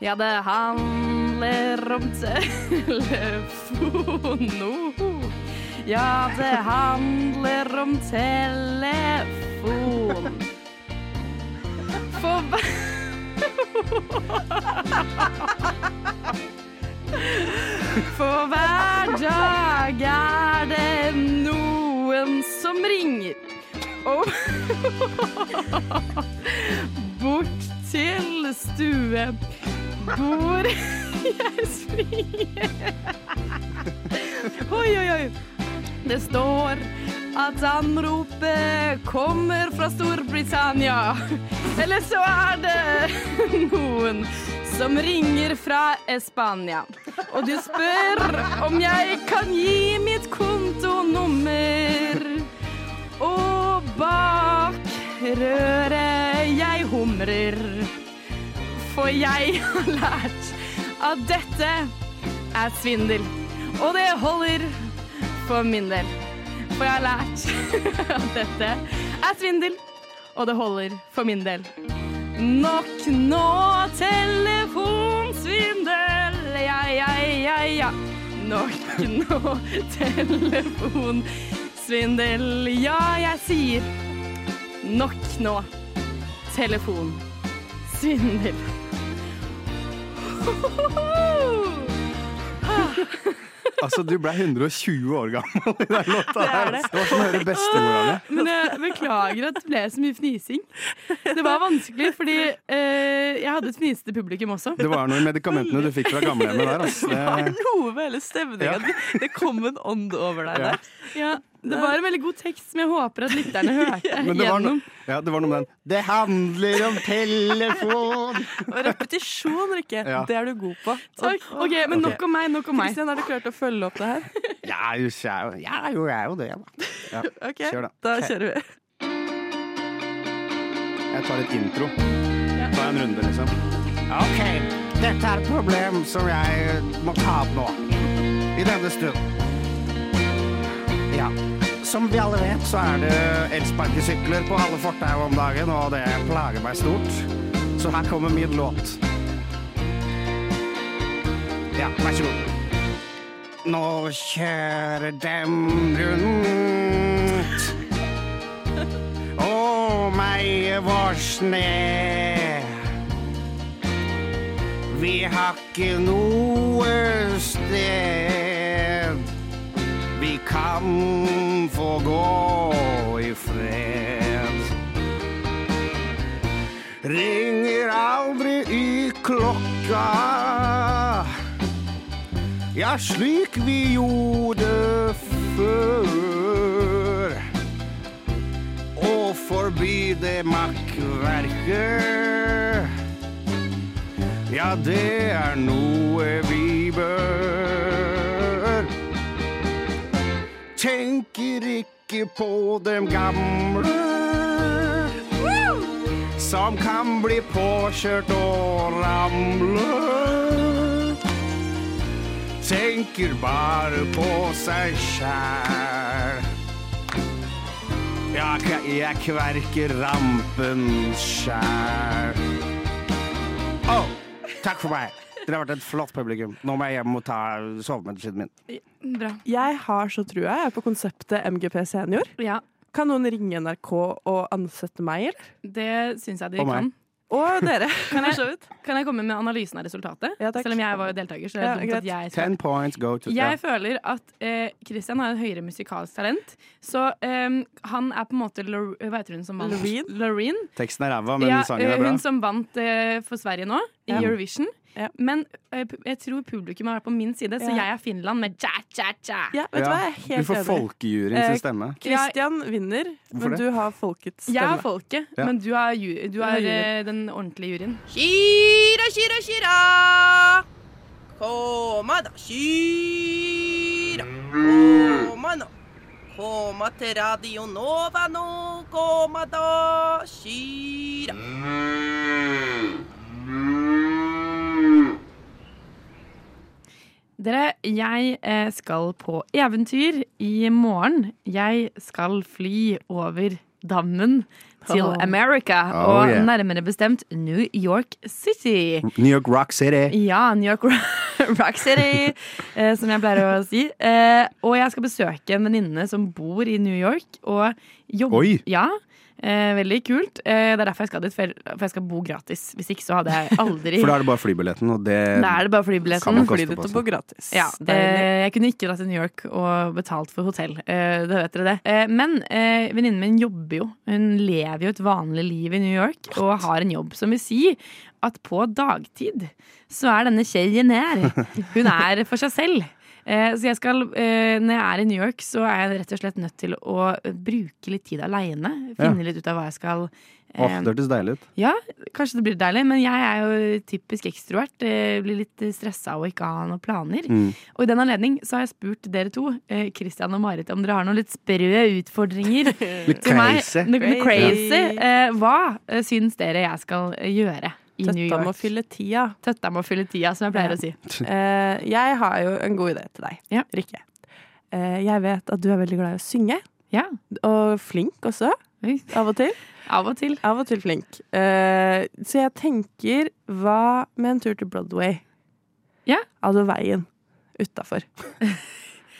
O: Ja, det handler om telefon. Ja, det handler om telefon. For hva For hver dag er det noen som ringer. Og bort
P: til stue hvor jeg springer. Oi, oi, oi. Det står at anropet kommer fra Storbritannia. Eller så er det noen som ringer fra Spania. Og du spør om jeg kan gi mitt kontonummer. Og bak røret jeg humrer. For jeg har lært at dette er svindel. Og det holder for min del. For jeg har lært at dette er svindel, og det holder for min del. Nok nå telefonsvindel, ja, ja, ja, ja. Nok nå telefonsvindel, ja, jeg sier nok nå telefonsvindel.
N: Altså, du ble 120 år gammel i den låta
K: Det er
N: her. altså.
K: det.
N: Det var som å høre bestemora di.
K: Men jeg beklager at det ble så mye fnising. Det var vanskelig, fordi eh, jeg hadde et fnisete publikum også.
N: Det var noe i medikamentene du fikk fra gamlehjemmet der. Altså.
K: Det var
N: Det-
K: noe med hele
N: Ja.
K: stemninga.
I: Det kom en ånd over deg
N: Ja.
I: der.
K: Ja, det var en veldig god tekst som jeg håper at lytterne hørte
N: Men det var,
K: gjennom.
N: no, ja, det var noe med den Det handler om telefon!
K: Og repetisjon, Rikke.
N: Ja. det
K: er du god på. Takk. Ok, Men nok om meg, nok om meg.
M: Kristian, har du klart å følge opp det her?
N: Jeg er jo, jeg er jo, jeg er jo, jeg er jo det, jeg, da. Ja.
M: Ok,
N: Kjør, da.
M: da kjører vi.
N: Jeg tar litt intro. Ta en runde, liksom. OK. Dette er et problem som jeg må ta opp nå. I denne stund. Ja. Som vi alle vet, så er det elsparkesykler på alle fortau om dagen, og det plager meg stort. Så her kommer min låt. Ja, vær så god. Nå kjører dem rundt. Å, meg vår sne. Vi har ikke noe sted vi kan få gå i fred. Ringer aldri i klokka. Ja, slik vi gjorde før og forbi det makkverket. Ja, det er noe vi bør. Tenker ikke på dem gamle som kan bli påkjørt og ramle. Tenker bare på seg sjæl. Ja, k- jeg kverker rampen sjæl. Å, takk for meg. Dere har vært et flott publikum. Nå må jeg hjem og ta sovemedisinen min.
M: Jeg har så trua jeg på konseptet MGP senior. Kan noen ringe NRK og ansette meg, eller?
O: Det syns jeg de
M: Og meg.
O: kan.
M: Og dere.
O: Kan jeg, kan jeg komme med analysen av resultatet? Selv om jeg var jo deltaker. Så det er
M: Ja,
O: dumt
M: greit.
O: at jeg skal
N: Ten points go to
O: Jeg føler at eh, Christian har et høyere musikalsk talent. Så eh, han er på en måte Lor hva heter hun som vant?
N: Loreen?
O: Loreen.
N: Teksten er ræva, men
O: Ja,
N: sangen
O: eh,
N: er bra.
O: Hun som vant eh, for Sverige nå, i
N: Ja.
O: Eurovision. Men eh, pu- jeg tror publikum har vært på min side, så
M: Ja.
O: jeg er Finland med ja, ja, ja.
M: Vet du hva, jeg er
N: du
M: helt
N: får folkejuryen
M: Eh,
N: sin stemme.
M: Christian vinner,
N: Hvorfor
M: men
N: det?
M: du har folkets stemme.
O: Jeg er folket,
N: Ja.
O: men du er, ju du er
M: Du er
O: eh, den ordentlige juryen.
P: Kira, kira, kira. Koma da, kira. Koma nå. Koma til Radio Nova nå. Koma da, kira.
O: Dere, jeg eh, skal på eventyr i morgen. Jeg skal fly over dammen til
P: Oh.
O: America,
N: Oh,
O: og
N: yeah.
O: nærmere bestemt New York City.
N: New York Rock City.
O: Ja, New York Rock City, eh, som jeg pleier å si. Eh, og jeg skal besøke en venninne som bor i New York og jobber
N: Oi.
O: Ja, eh, Eh, veldig kult. Eh, det er derfor jeg skal dit, for jeg- for jeg skal bo gratis. Hvis ikke så hadde jeg aldri
Q: For da er det bare flybilletten, og det
O: Da er det bare
Q: Eh, kan
O: flybilletten.
Q: man koste på seg.
R: gratis.
O: Ja,
Q: Deilig.
O: eh, jeg kunne ikke dratt til New York og betalt for hotell. Eh, det vet dere det. Eh, men eh, venninnen min jobber jo. Hun lever jo et vanlig liv i New York og har en jobb som vil si at på dagtid så er denne kjeien her. Hun er for seg selv. Eh, Så jeg skal, eh, når jeg er i New York, så er jeg rett og slett nødt til å bruke litt tid aleine. Finne
Q: Ja.
O: litt ut av hva jeg skal
Q: Åh,
O: eh,
Q: det hørtes deilig ut.
O: ja, kanskje det blir deilig, men jeg er jo typisk ekstrovert. eh, Blir litt stressa og ikke har noen planer.
Q: Mm.
O: Og i den anledning så har jeg spurt dere to, eh, Christian og Marit, om dere har noen litt sprø utfordringer
Q: Litt
O: til meg.
Q: crazy.
O: Noe- noe
Q: Crazy.
O: crazy. Eh, Hva eh, syns dere jeg skal eh, gjøre i New York?
M: Tøtta må fylle tida.
O: Tøtta må fylle tida, som jeg pleier å si.
M: Eh, jeg har jo en god idé til deg, Rikke. Eh, jeg vet at du er veldig glad i å synge. Og flink også. Av og til.
O: av og til.
M: Av og til flink. Eh, så jeg tenker, hva med en tur til Broadway?
O: Ja.
M: Altså veien utafor.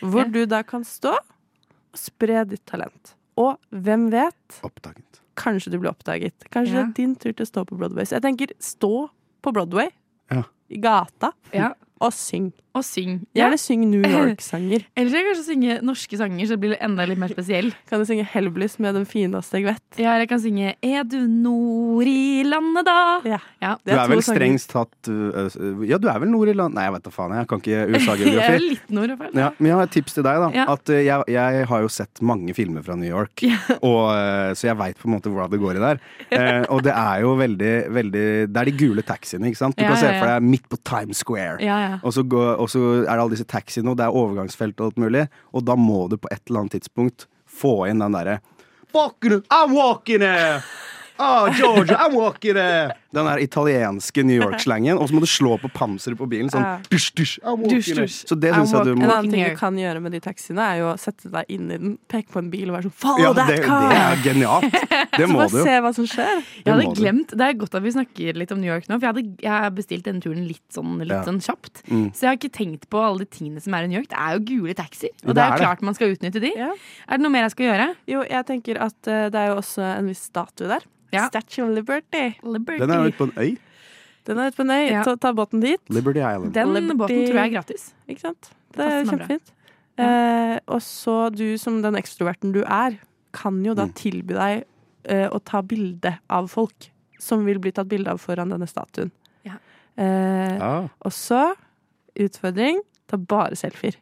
M: Hvor du da kan stå og spre ditt talent. Og hvem vet? Kanskje du blir oppdaget. Kanskje det
O: Ja.
M: er din tur til å stå på Broadway. Så jeg tenker, stå på Broadway.
Q: Ja.
M: I gata.
O: Ja.
M: Og syng.
O: Og syng.
M: Gjerne syng New York-sanger.
O: Eller så kan jeg kanskje synge norske sanger, så det blir enda litt mer spesiell.
M: Kan du synge Hellbillies med den fineste jeg vet?
O: Ja, eller jeg kan synge 'Er du nord i landet', da?
M: Ja.
Q: Du er vel strengst tatt ø, ø, Ja, du er vel nord i land Nei, jeg vet da faen. Jeg kan ikke
O: Jeg er
Q: USA-geografi.
O: vel litt nord, i hvert fall.
Q: Ja, men jeg har et tips til deg. da
O: Ja.
Q: At ø, jeg, jeg har jo sett mange filmer fra New York, og, ø, så jeg veit på en måte hvordan det går i der. Eh, og det er jo veldig, veldig Det er de gule taxiene, ikke sant. Du
O: Ja,
Q: kan se
O: ja, ja.
Q: for deg midt på Times Square.
O: Ja, ja.
Q: Og, så går, og så er det alle disse taxiene, og det er overgangsfelt og alt mulig. Og da må du på et eller annet tidspunkt få inn den derre Walking, I'm walking it! Oh, Georgia, I'm walking it! Den der italienske New York-slangen. Og så må du slå på panseret på bilen. Sånn,
M: Ja.
Q: dusj, dusj, I'm walking
M: Dusj,
Q: it.
M: dusj.
Q: Så det syns jeg du må
M: En annen ting du kan gjøre med de taxiene, er jo å sette deg inn i den, peke på en bil og være sånn Follow
Q: Ja,
M: that
Q: det,
M: car!
Q: det er genialt. Det må
M: så
Q: du
M: bare
Q: jo.
M: se hva som skjer.
O: Jeg
Q: Det
O: hadde
Q: må du.
O: glemt, Det er godt at vi snakker litt om New York nå, for jeg, hadde, jeg har bestilt denne turen litt, sånn, litt
Q: Ja.
O: sånn kjapt.
Q: Mm.
O: Så jeg har ikke tenkt på alle de tingene som er i New York. Det er jo gule taxier, og
M: Ja,
O: det,
M: det
O: er jo
M: er det.
O: klart man skal utnytte de. Er det noe mer jeg skal gjøre?
M: Jo, jeg tenker at eh, det er jo også en viss statue der. Statue of Liberty.
Q: Den er jo ute på en øy.
M: Den er ute på en øy.
Q: Ja.
M: Ta, ta båten dit.
Q: Liberty Island.
O: Den
M: Liberty-
O: båten tror jeg er gratis.
M: Ikke sant? Det er jo
O: Passende bra.
M: kjempefint. Eh, og så du som den ekstroverten du er, kan jo
Q: Mm.
M: da tilby deg eh, å ta bilde av folk som vil bli tatt bilde av foran denne statuen.
O: Ja.
M: Eh,
Q: Ah.
M: Og så utfordring ta bare selfier.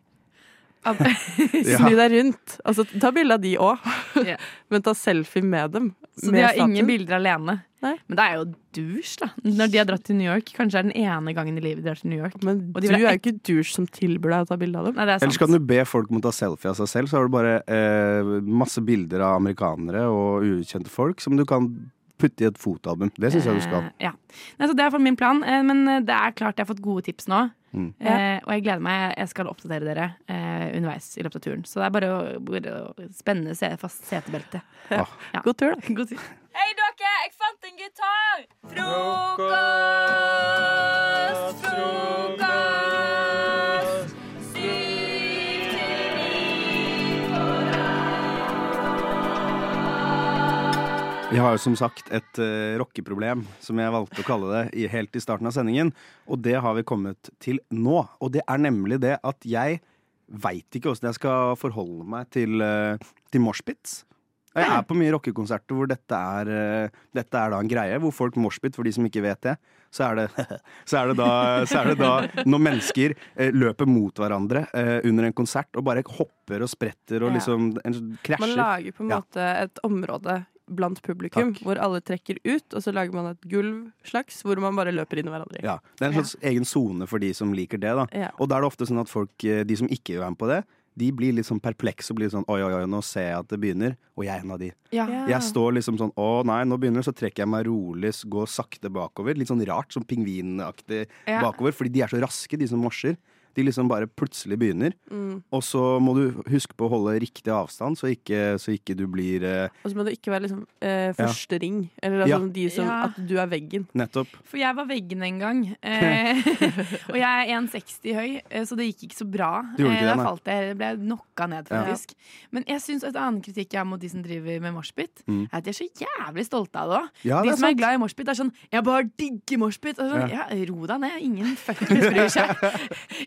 Q: Ja.
M: Snu deg rundt. Altså, ta bilde av de òg,
O: Ja.
M: men ta selfie med dem.
O: Så
M: med
O: de har ingen
M: statuen.
O: bilder alene. Men det er jo douche, da. Når de har dratt til New York. Kanskje det er den ene gangen i livet de drar til New York.
M: Men
O: og
M: Du
O: de vil
M: er
O: ha
M: jo ikke douche som tilbyr deg å ta bilde av dem.
O: Nei, det er sant.
Q: Ellers kan du be folk om å ta selfie av seg selv, så har du bare eh, masse bilder av amerikanere og ukjente folk som du kan putte i et fotoalbum. Det syns jeg du skal.
O: Eh, Ja. Nei, så det er for min plan, eh, men eh, det er klart jeg har fått gode tips nå.
Q: Mm.
O: Eh, og jeg gleder meg. Jeg skal oppdatere dere eh, underveis i løpet av turen. Så det er bare å, bare å spenne se, fast setebeltet.
Q: Ah.
M: God tur,
O: da. God tur.
P: Hei, dere! Jeg fant en gitar! Frokost, frokost. Syv til ni på
Q: Vi har jo som sagt et eh, rockeproblem, som jeg valgte å kalle det i, helt i starten av sendingen. Og det har vi kommet til nå. Og det er nemlig det at jeg veit ikke åssen jeg skal forholde meg til, eh, til moshpits. Og Jeg er på mye rockekonserter hvor dette er, eh, dette er da en greie. Hvor folk moshpit, for de som ikke vet det, så er det, så er det, da, så er det da når mennesker eh, løper mot hverandre eh, under en konsert og bare hopper og spretter og
M: Ja.
Q: liksom en, krasjer.
M: Man lager på en
Q: Ja.
M: måte et område blant publikum hvor alle trekker ut, og så lager man et gulv slags hvor man bare løper inn i hverandre.
Q: Ja, Det er en slags egen sone for de som liker det. da
M: Ja.
Q: Og da er det ofte sånn at folk, eh, de som ikke vil være med på det, de blir litt sånn perplekse og blir sånn oi, oi, oi, nå ser jeg at det begynner. Og jeg er en av de.
O: Ja.
Q: Jeg står liksom sånn å nei, nå begynner det, så trekker jeg meg rolig, s- går sakte bakover. Litt sånn rart, sånn pingvinaktig
O: Ja.
Q: bakover. Fordi de er så raske, de som morser. De liksom bare plutselig begynner.
M: Mm.
Q: Og så må du huske på å holde riktig avstand, så ikke, så ikke du blir eh,
M: Og så må det ikke være liksom, eh,
Q: Ja.
M: første ring. Eller altså,
Q: Ja.
M: de som,
O: Ja.
M: at du er veggen.
Q: Nettopp.
O: For jeg var veggen en gang. Eh, og jeg er 1,60 høy, eh, så det gikk ikke så bra.
Q: Det gjorde ikke
O: Eh,
Q: det,
O: da
Q: nei.
O: falt jeg, ble jeg knocka ned,
Q: Ja.
O: faktisk. Men jeg synes et annet kritikk jeg har mot de som driver med moshpit,
Q: Mm.
O: er at de er så jævlig stolte av det òg.
Q: Ja, det
O: de
Q: er
O: som er
Q: sant.
O: glad i moshpit, er sånn 'Jeg bare digger moshpit'. Og Sånn, ja.
Q: Ja.
O: ro deg ned. Ingen fuckings bryr seg.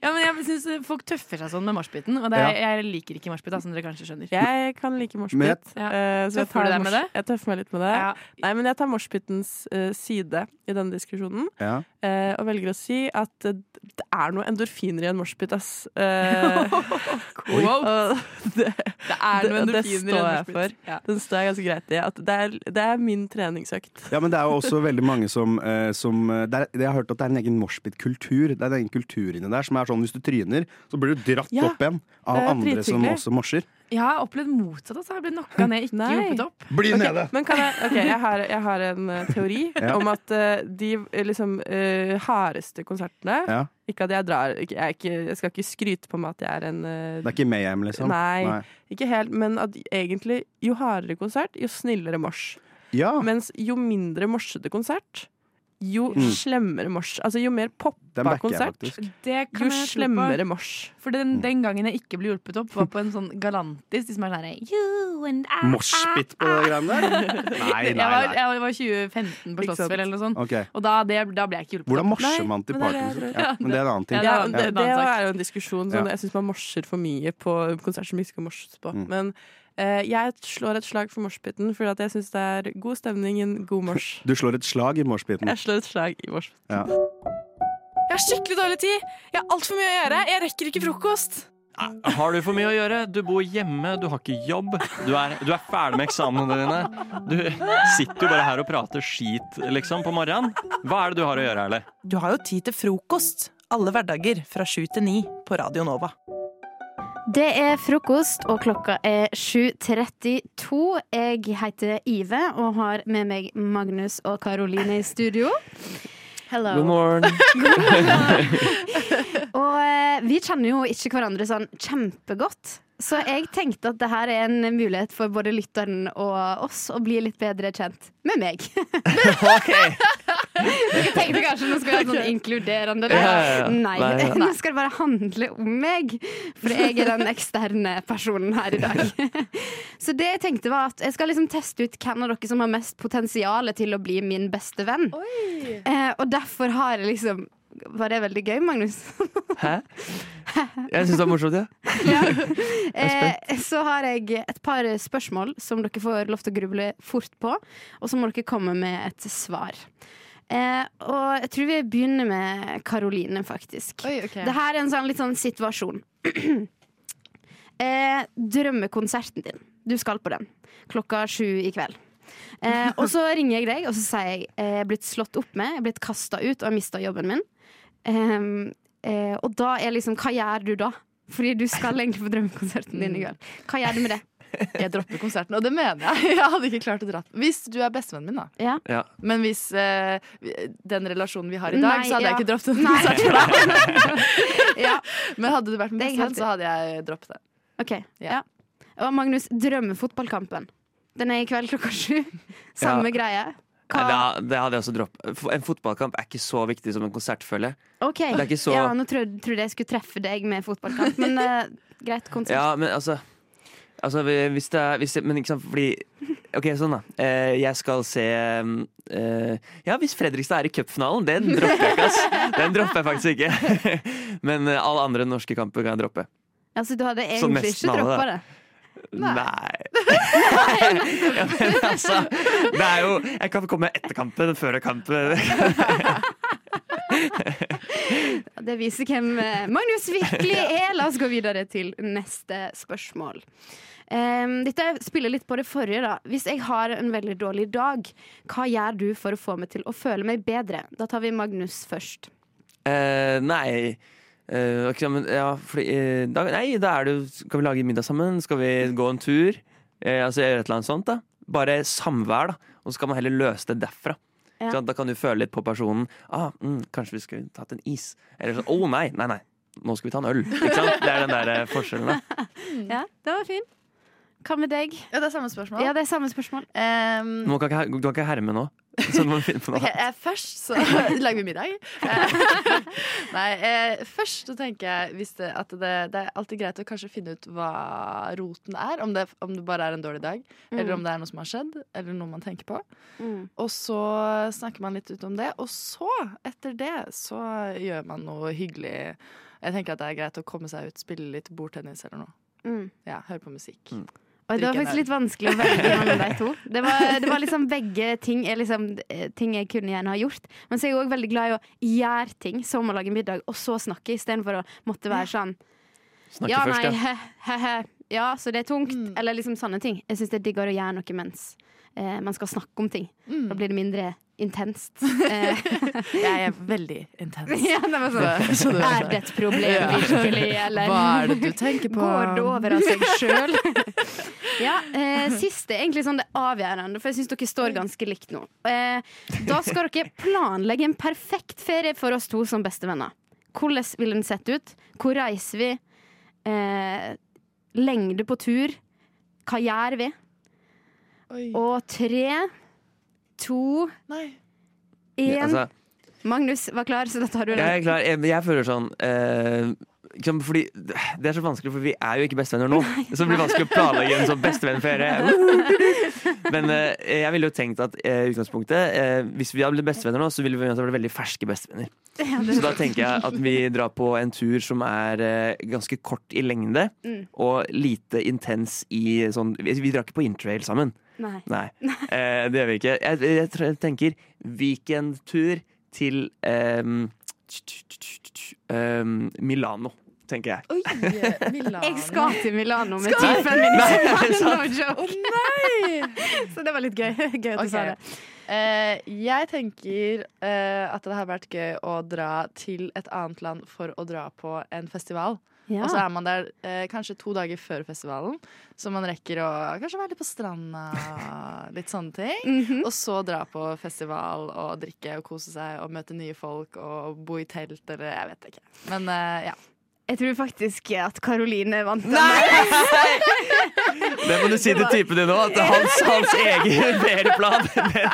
O: ja, men jeg synes folk tøffer seg sånn med moshpiten, og det, er- jeg liker ikke moshpit, da, som dere kanskje skjønner.
M: Jeg kan like
O: Men-
M: moshpit.
O: Ja.
M: eh, så jeg
O: Tøffer
M: tar
O: du deg med
M: mors-
O: det?
M: Jeg tøffer meg litt med det. Nei, men jeg tar moshpitens eh, side i denne diskusjonen.
Q: Ja.
M: eh, og velger å si at eh, det er noe endorfiner i en moshpit, ass. Eh,
O: Oi.
M: og det,
O: er noe
M: og det
O: endorfiner i en
M: står jeg
O: moshpit.
M: for.
O: Ja.
M: Den står jeg ganske greit i. At det, er, det er min treningsøkt.
Q: Ja, men det er jo også veldig mange som, eh, som eh, det er, Jeg har hørt at det er en egen moshpit-kultur. Det er en egen kultur inni der som er sånn hvis du tryner, så blir du dratt
O: Ja,
Q: opp igjen av
O: det er
Q: andre som
O: drithyggelig.
Q: også mosher.
O: Jeg har opplevd motsatt. Altså. Jeg ble knocka ned, ikke hjulpet opp.
Q: Bli
M: Ok,
Q: nede!
M: Men kan jeg, ok, jeg, har, jeg har en eh, teori
Q: Ja.
M: om at eh, de eh, liksom, eh, hardeste konsertene
Q: Ja.
M: Ikke at jeg drar ikke, jeg, er ikke, jeg skal ikke skryte på meg at jeg er en eh,
Q: Det er ikke Mayhem, liksom?
M: Nei, ikke helt, men at egentlig jo hardere konsert, jo snillere mors. Mens jo mindre morsete konsert, jo
Q: Mm.
M: slemmere mors. Altså jo mer
Q: Den
M: poppa
Q: backer jeg
M: konsert,
Q: faktisk.
O: Det kan
M: jo
O: jeg tro på.
M: slemmere mors.
O: For
Q: Mm.
O: den, den gangen jeg ikke ble hjulpet opp, var på en sånn galantis. De som er sånn her, You and I
Q: Moshpit på det greiene der? Nei,
O: jeg,
Q: nei,
O: var,
Q: nei.
O: jeg var 2015 på
Q: Ikke sant.
O: Slottsfjell eller noe sånt.
Q: Ok.
O: Og da, det, da ble jeg ikke hjulpet
Q: Hvordan
O: opp.
Q: morser man til
O: men det er det jeg
Q: partymusikk? Ja,
O: tror.
Q: men det er en annen
M: Ja,
Q: ting. Ja.
M: det, det er jo en diskusjon. Sånn,
Q: Ja.
M: Jeg syns man morser for mye på konsert som ikke skal morses på.
Q: Mm.
M: Men eh, jeg slår et slag for morspiten, for at jeg syns det er god stemning i en god mors.
Q: Du slår et slag i moshpiten.
M: Jeg slår et slag i morspiten.
Q: Ja.
P: Jeg har skikkelig dårlig tid. Jeg har altfor mye å gjøre. Jeg rekker ikke frokost.
I: Ah.
J: Har du for mye å gjøre? Du bor hjemme, du har ikke jobb. Du er, du er ferdig med eksamene dine. Du sitter jo bare her og prater skit, liksom, på morgenen. Hva er det du har å gjøre, Erle?
I: Du har jo tid til frokost alle hverdager fra sju til ni på Radio Nova.
S: Det er frokost, og klokka er 7.32. Jeg heter Ive og har med meg Magnus og Karoline i studio. Hello.
T: morgen.
S: Og eh, vi kjenner jo ikke hverandre sånn kjempegodt. Så jeg tenkte at det her er en mulighet for både lytteren og oss å bli litt bedre kjent med meg. Jeg tenkte kanskje nå skal vi ha sånn inkluderende
T: Ja, ja, ja.
S: Nei.
T: Nei, ja.
S: nå skal det bare handle om meg. For jeg er den eksterne personen her i dag. Så det jeg tenkte var at jeg skal liksom teste ut hvem av dere som har mest potensial til å bli min beste venn. Eh, og derfor har jeg liksom Var det veldig gøy, Magnus?
T: Hæ? Jeg syns det var morsomt, ja.
S: Eh, så har jeg et par spørsmål som dere får lov til å gruble fort på. Og så må dere komme med et svar. Eh, og jeg tror vi begynner med Karoline, faktisk. Det her er en sånn, litt sånn situasjon. eh, drømmekonserten din. Du skal på den klokka sju i kveld. Eh, og så ringer jeg deg, og så sier jeg eh, jeg er blitt slått opp med, jeg er blitt kasta ut og har mista jobben min. Ehm, eh, og da er liksom Hva gjør du da? Fordi du skal egentlig på drømmekonserten din i kveld. Hva gjør du med det?
T: Jeg dropper konserten, og det mener jeg. Jeg hadde ikke klart å dra Hvis du er bestevennen min, da.
S: Ja.
T: Ja. Men hvis eh, den relasjonen vi har i dag,
S: Nei,
T: så
S: ja.
T: hadde jeg ikke droppet en
S: Nei.
T: konsert for deg. Men hadde du vært min
S: Det er
T: bestevenn,
S: helt-
T: så hadde jeg droppet det.
S: Ok, ja. Og Magnus, drømmefotballkampen. Den er i kveld klokka sju. Samme
U: Ja.
S: greie.
U: Nei, det, ha- det hadde jeg også droppet. En fotballkamp er ikke så viktig som en konsertfølge.
S: Ok,
U: Det er ikke så
S: ja, Nå trodde, trodde jeg skulle treffe deg med fotballkamp, men eh, greit. Konsert.
U: Ja, men altså, altså vi- hvis det er hvis det, Men ikke sant, fordi Ok, sånn, da. Eh, jeg skal se eh, Ja, hvis Fredrikstad er i cupfinalen, den dropper jeg ikke, ass. Den dropper jeg faktisk ikke. men eh, alle andre norske kamper kan jeg droppe.
S: Altså, du hadde
U: Så
S: egentlig
U: nesten
S: ikke
U: alle,
S: droppa
U: da.
S: det.
U: Nei. ja, men altså, det er jo Jeg kan komme etter kampen, før kampen.
S: Det viser hvem eh, Magnus virkelig er. La oss gå videre til neste spørsmål. Um, dette spiller litt på det forrige. da Hvis jeg har en veldig dårlig dag, hva gjør du for å få meg til å føle meg bedre? Da tar vi Magnus først.
U: Eh, nei Eh, ok, men, ja, fordi, eh, da, Nei, da er det jo Skal vi lage middag sammen? Skal vi gå en tur? Eh, altså gjøre et eller annet sånt da Bare samvær da Og så kan man heller løse det derfra
S: Ja.
U: Ikke sant? Da kan du føle litt på personen ah, mm, Kanskje vi skulle tatt en is Eller sånn, å nei, nei, nei nå skal vi ta en øl. Ikke sant? Det er den der eh, forskjellen, da.
S: Ja, den var fin. Hva med deg?
T: Ja, det er samme spørsmål. Eh,
S: Ja, det er samme spørsmål.
U: Du må ikke, du kan ikke herme nå. Så du må finne på noe.
T: ehm, Ok, eh, først så lager vi middag. Eh, Nei, eh, først så tenker jeg hvis det, at det, det er alltid greit å kanskje finne ut hva roten er. Om det, om det bare er en dårlig dag,
K: Mm.
T: eller om det er noe som har skjedd, eller noe man tenker på.
E: Mm.
T: Og så snakker man litt ut om det, og så, etter det, så gjør man noe hyggelig. Jeg tenker at det er greit å komme seg ut, spille litt bordtennis eller noe.
S: Mm.
T: Ja, høre på musikk.
S: Oi, det var
T: Drikke en
S: faktisk
T: øl.
S: litt vanskelig å velge mellom de to. Det var, det var liksom begge ting er liksom eh, ting jeg kunne gjerne ha gjort. Men så er jeg òg veldig glad i å gjøre ting, som å lage middag, og så snakke, istedenfor å måtte være sånn
U: Snakke
S: Ja,
U: først, ja.
S: nei,
U: Mm.
S: he, he, he. Ja, så det er tungt. Eller liksom sånne ting. Jeg syns det er diggere å gjøre noe mens eh, man skal snakke om ting.
U: Mm.
S: Da blir det mindre intenst. Eh,
T: Jeg er veldig intens.
S: ja, det var
T: Så- så
S: sånn.
T: du-
S: Er det et problem
T: Ja.
S: virkelig, eller?
T: Hva er det du tenker på?
S: Går det over av seg sjøl? Ja, eh, sist er egentlig sånn det avgjørende, for jeg syns dere står ganske likt nå. Eh, da skal dere planlegge en perfekt ferie for oss to som bestevenner. Hvordan vil den sett ut? Hvor reiser vi? Eh, lengde på tur? Hva gjør vi? Og tre, to,
U: Ja,
S: én
U: altså,
S: Magnus var klar, så da tar du
U: Jeg er klar. Jeg, jeg føler sånn eh, liksom, fordi Det er så vanskelig, for vi er jo ikke bestevenner nå. Så det blir vanskelig å planlegge en sånn bestevennferie. Men eh, jeg ville jo tenkt at eh, i utgangspunktet eh, hvis vi hadde blitt bestevenner nå, så ville vi vært veldig ferske bestevenner.
S: Ja, det-
U: Så da tenker jeg at vi drar på en tur som er eh, ganske kort i lengde
S: Mm.
U: og lite intens i sånn Vi, vi drar ikke på interrail sammen.
S: Nei.
U: Nei. Eh, det gjør vi ikke. Jeg, jeg, tr- tenker weekendtur til ehm, tj- tj- tj- tj- tj- ehm, Milano, tenker jeg.
S: Jeg skal til Milano med
U: Skal-
S: typen min.
U: Nei, er det
S: no
U: sant?
S: joke. Så det var litt gøy. Gøy at du sa det.
T: Eh, jeg tenker eh, at det hadde vært gøy å dra til et annet land for å dra på en festival.
S: Ja.
T: Og så er man der eh, kanskje to dager før festivalen, så man rekker å kanskje være litt på stranda. Litt sånne ting.
S: Mhm.
T: Og så dra på festival og drikke og kose seg og møte nye folk og bo i telt eller jeg vet ikke. Men eh, ja.
S: Jeg tror faktisk at Karoline vant. den.
U: Det må du si til typen din nå, at hans, hans egen ferieplan det-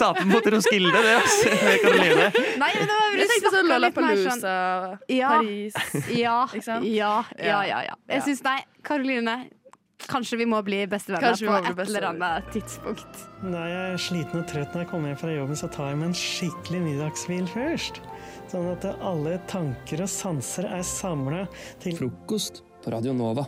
U: Taper mot Roskilde, det, altså. Det kan du lide.
S: Nei, men det var
T: Jeg tenkte sånn Lollapalooza, sånn
S: ja,
T: Paris.
S: Ja, ja, ja, ja, ja,
T: Ja.
S: Jeg syns nei, Karoline. Kanskje vi må bli bestevenner
T: Kanskje vi
S: på
T: må bli
S: et eller
T: bestevenner.
S: annet tidspunkt.
V: Når jeg er sliten og trøtt når jeg kommer hjem fra jobben, så tar jeg meg en skikkelig middagshvil først. Sånn at alle tanker og sanser er samla til Frokost på Radio Nova.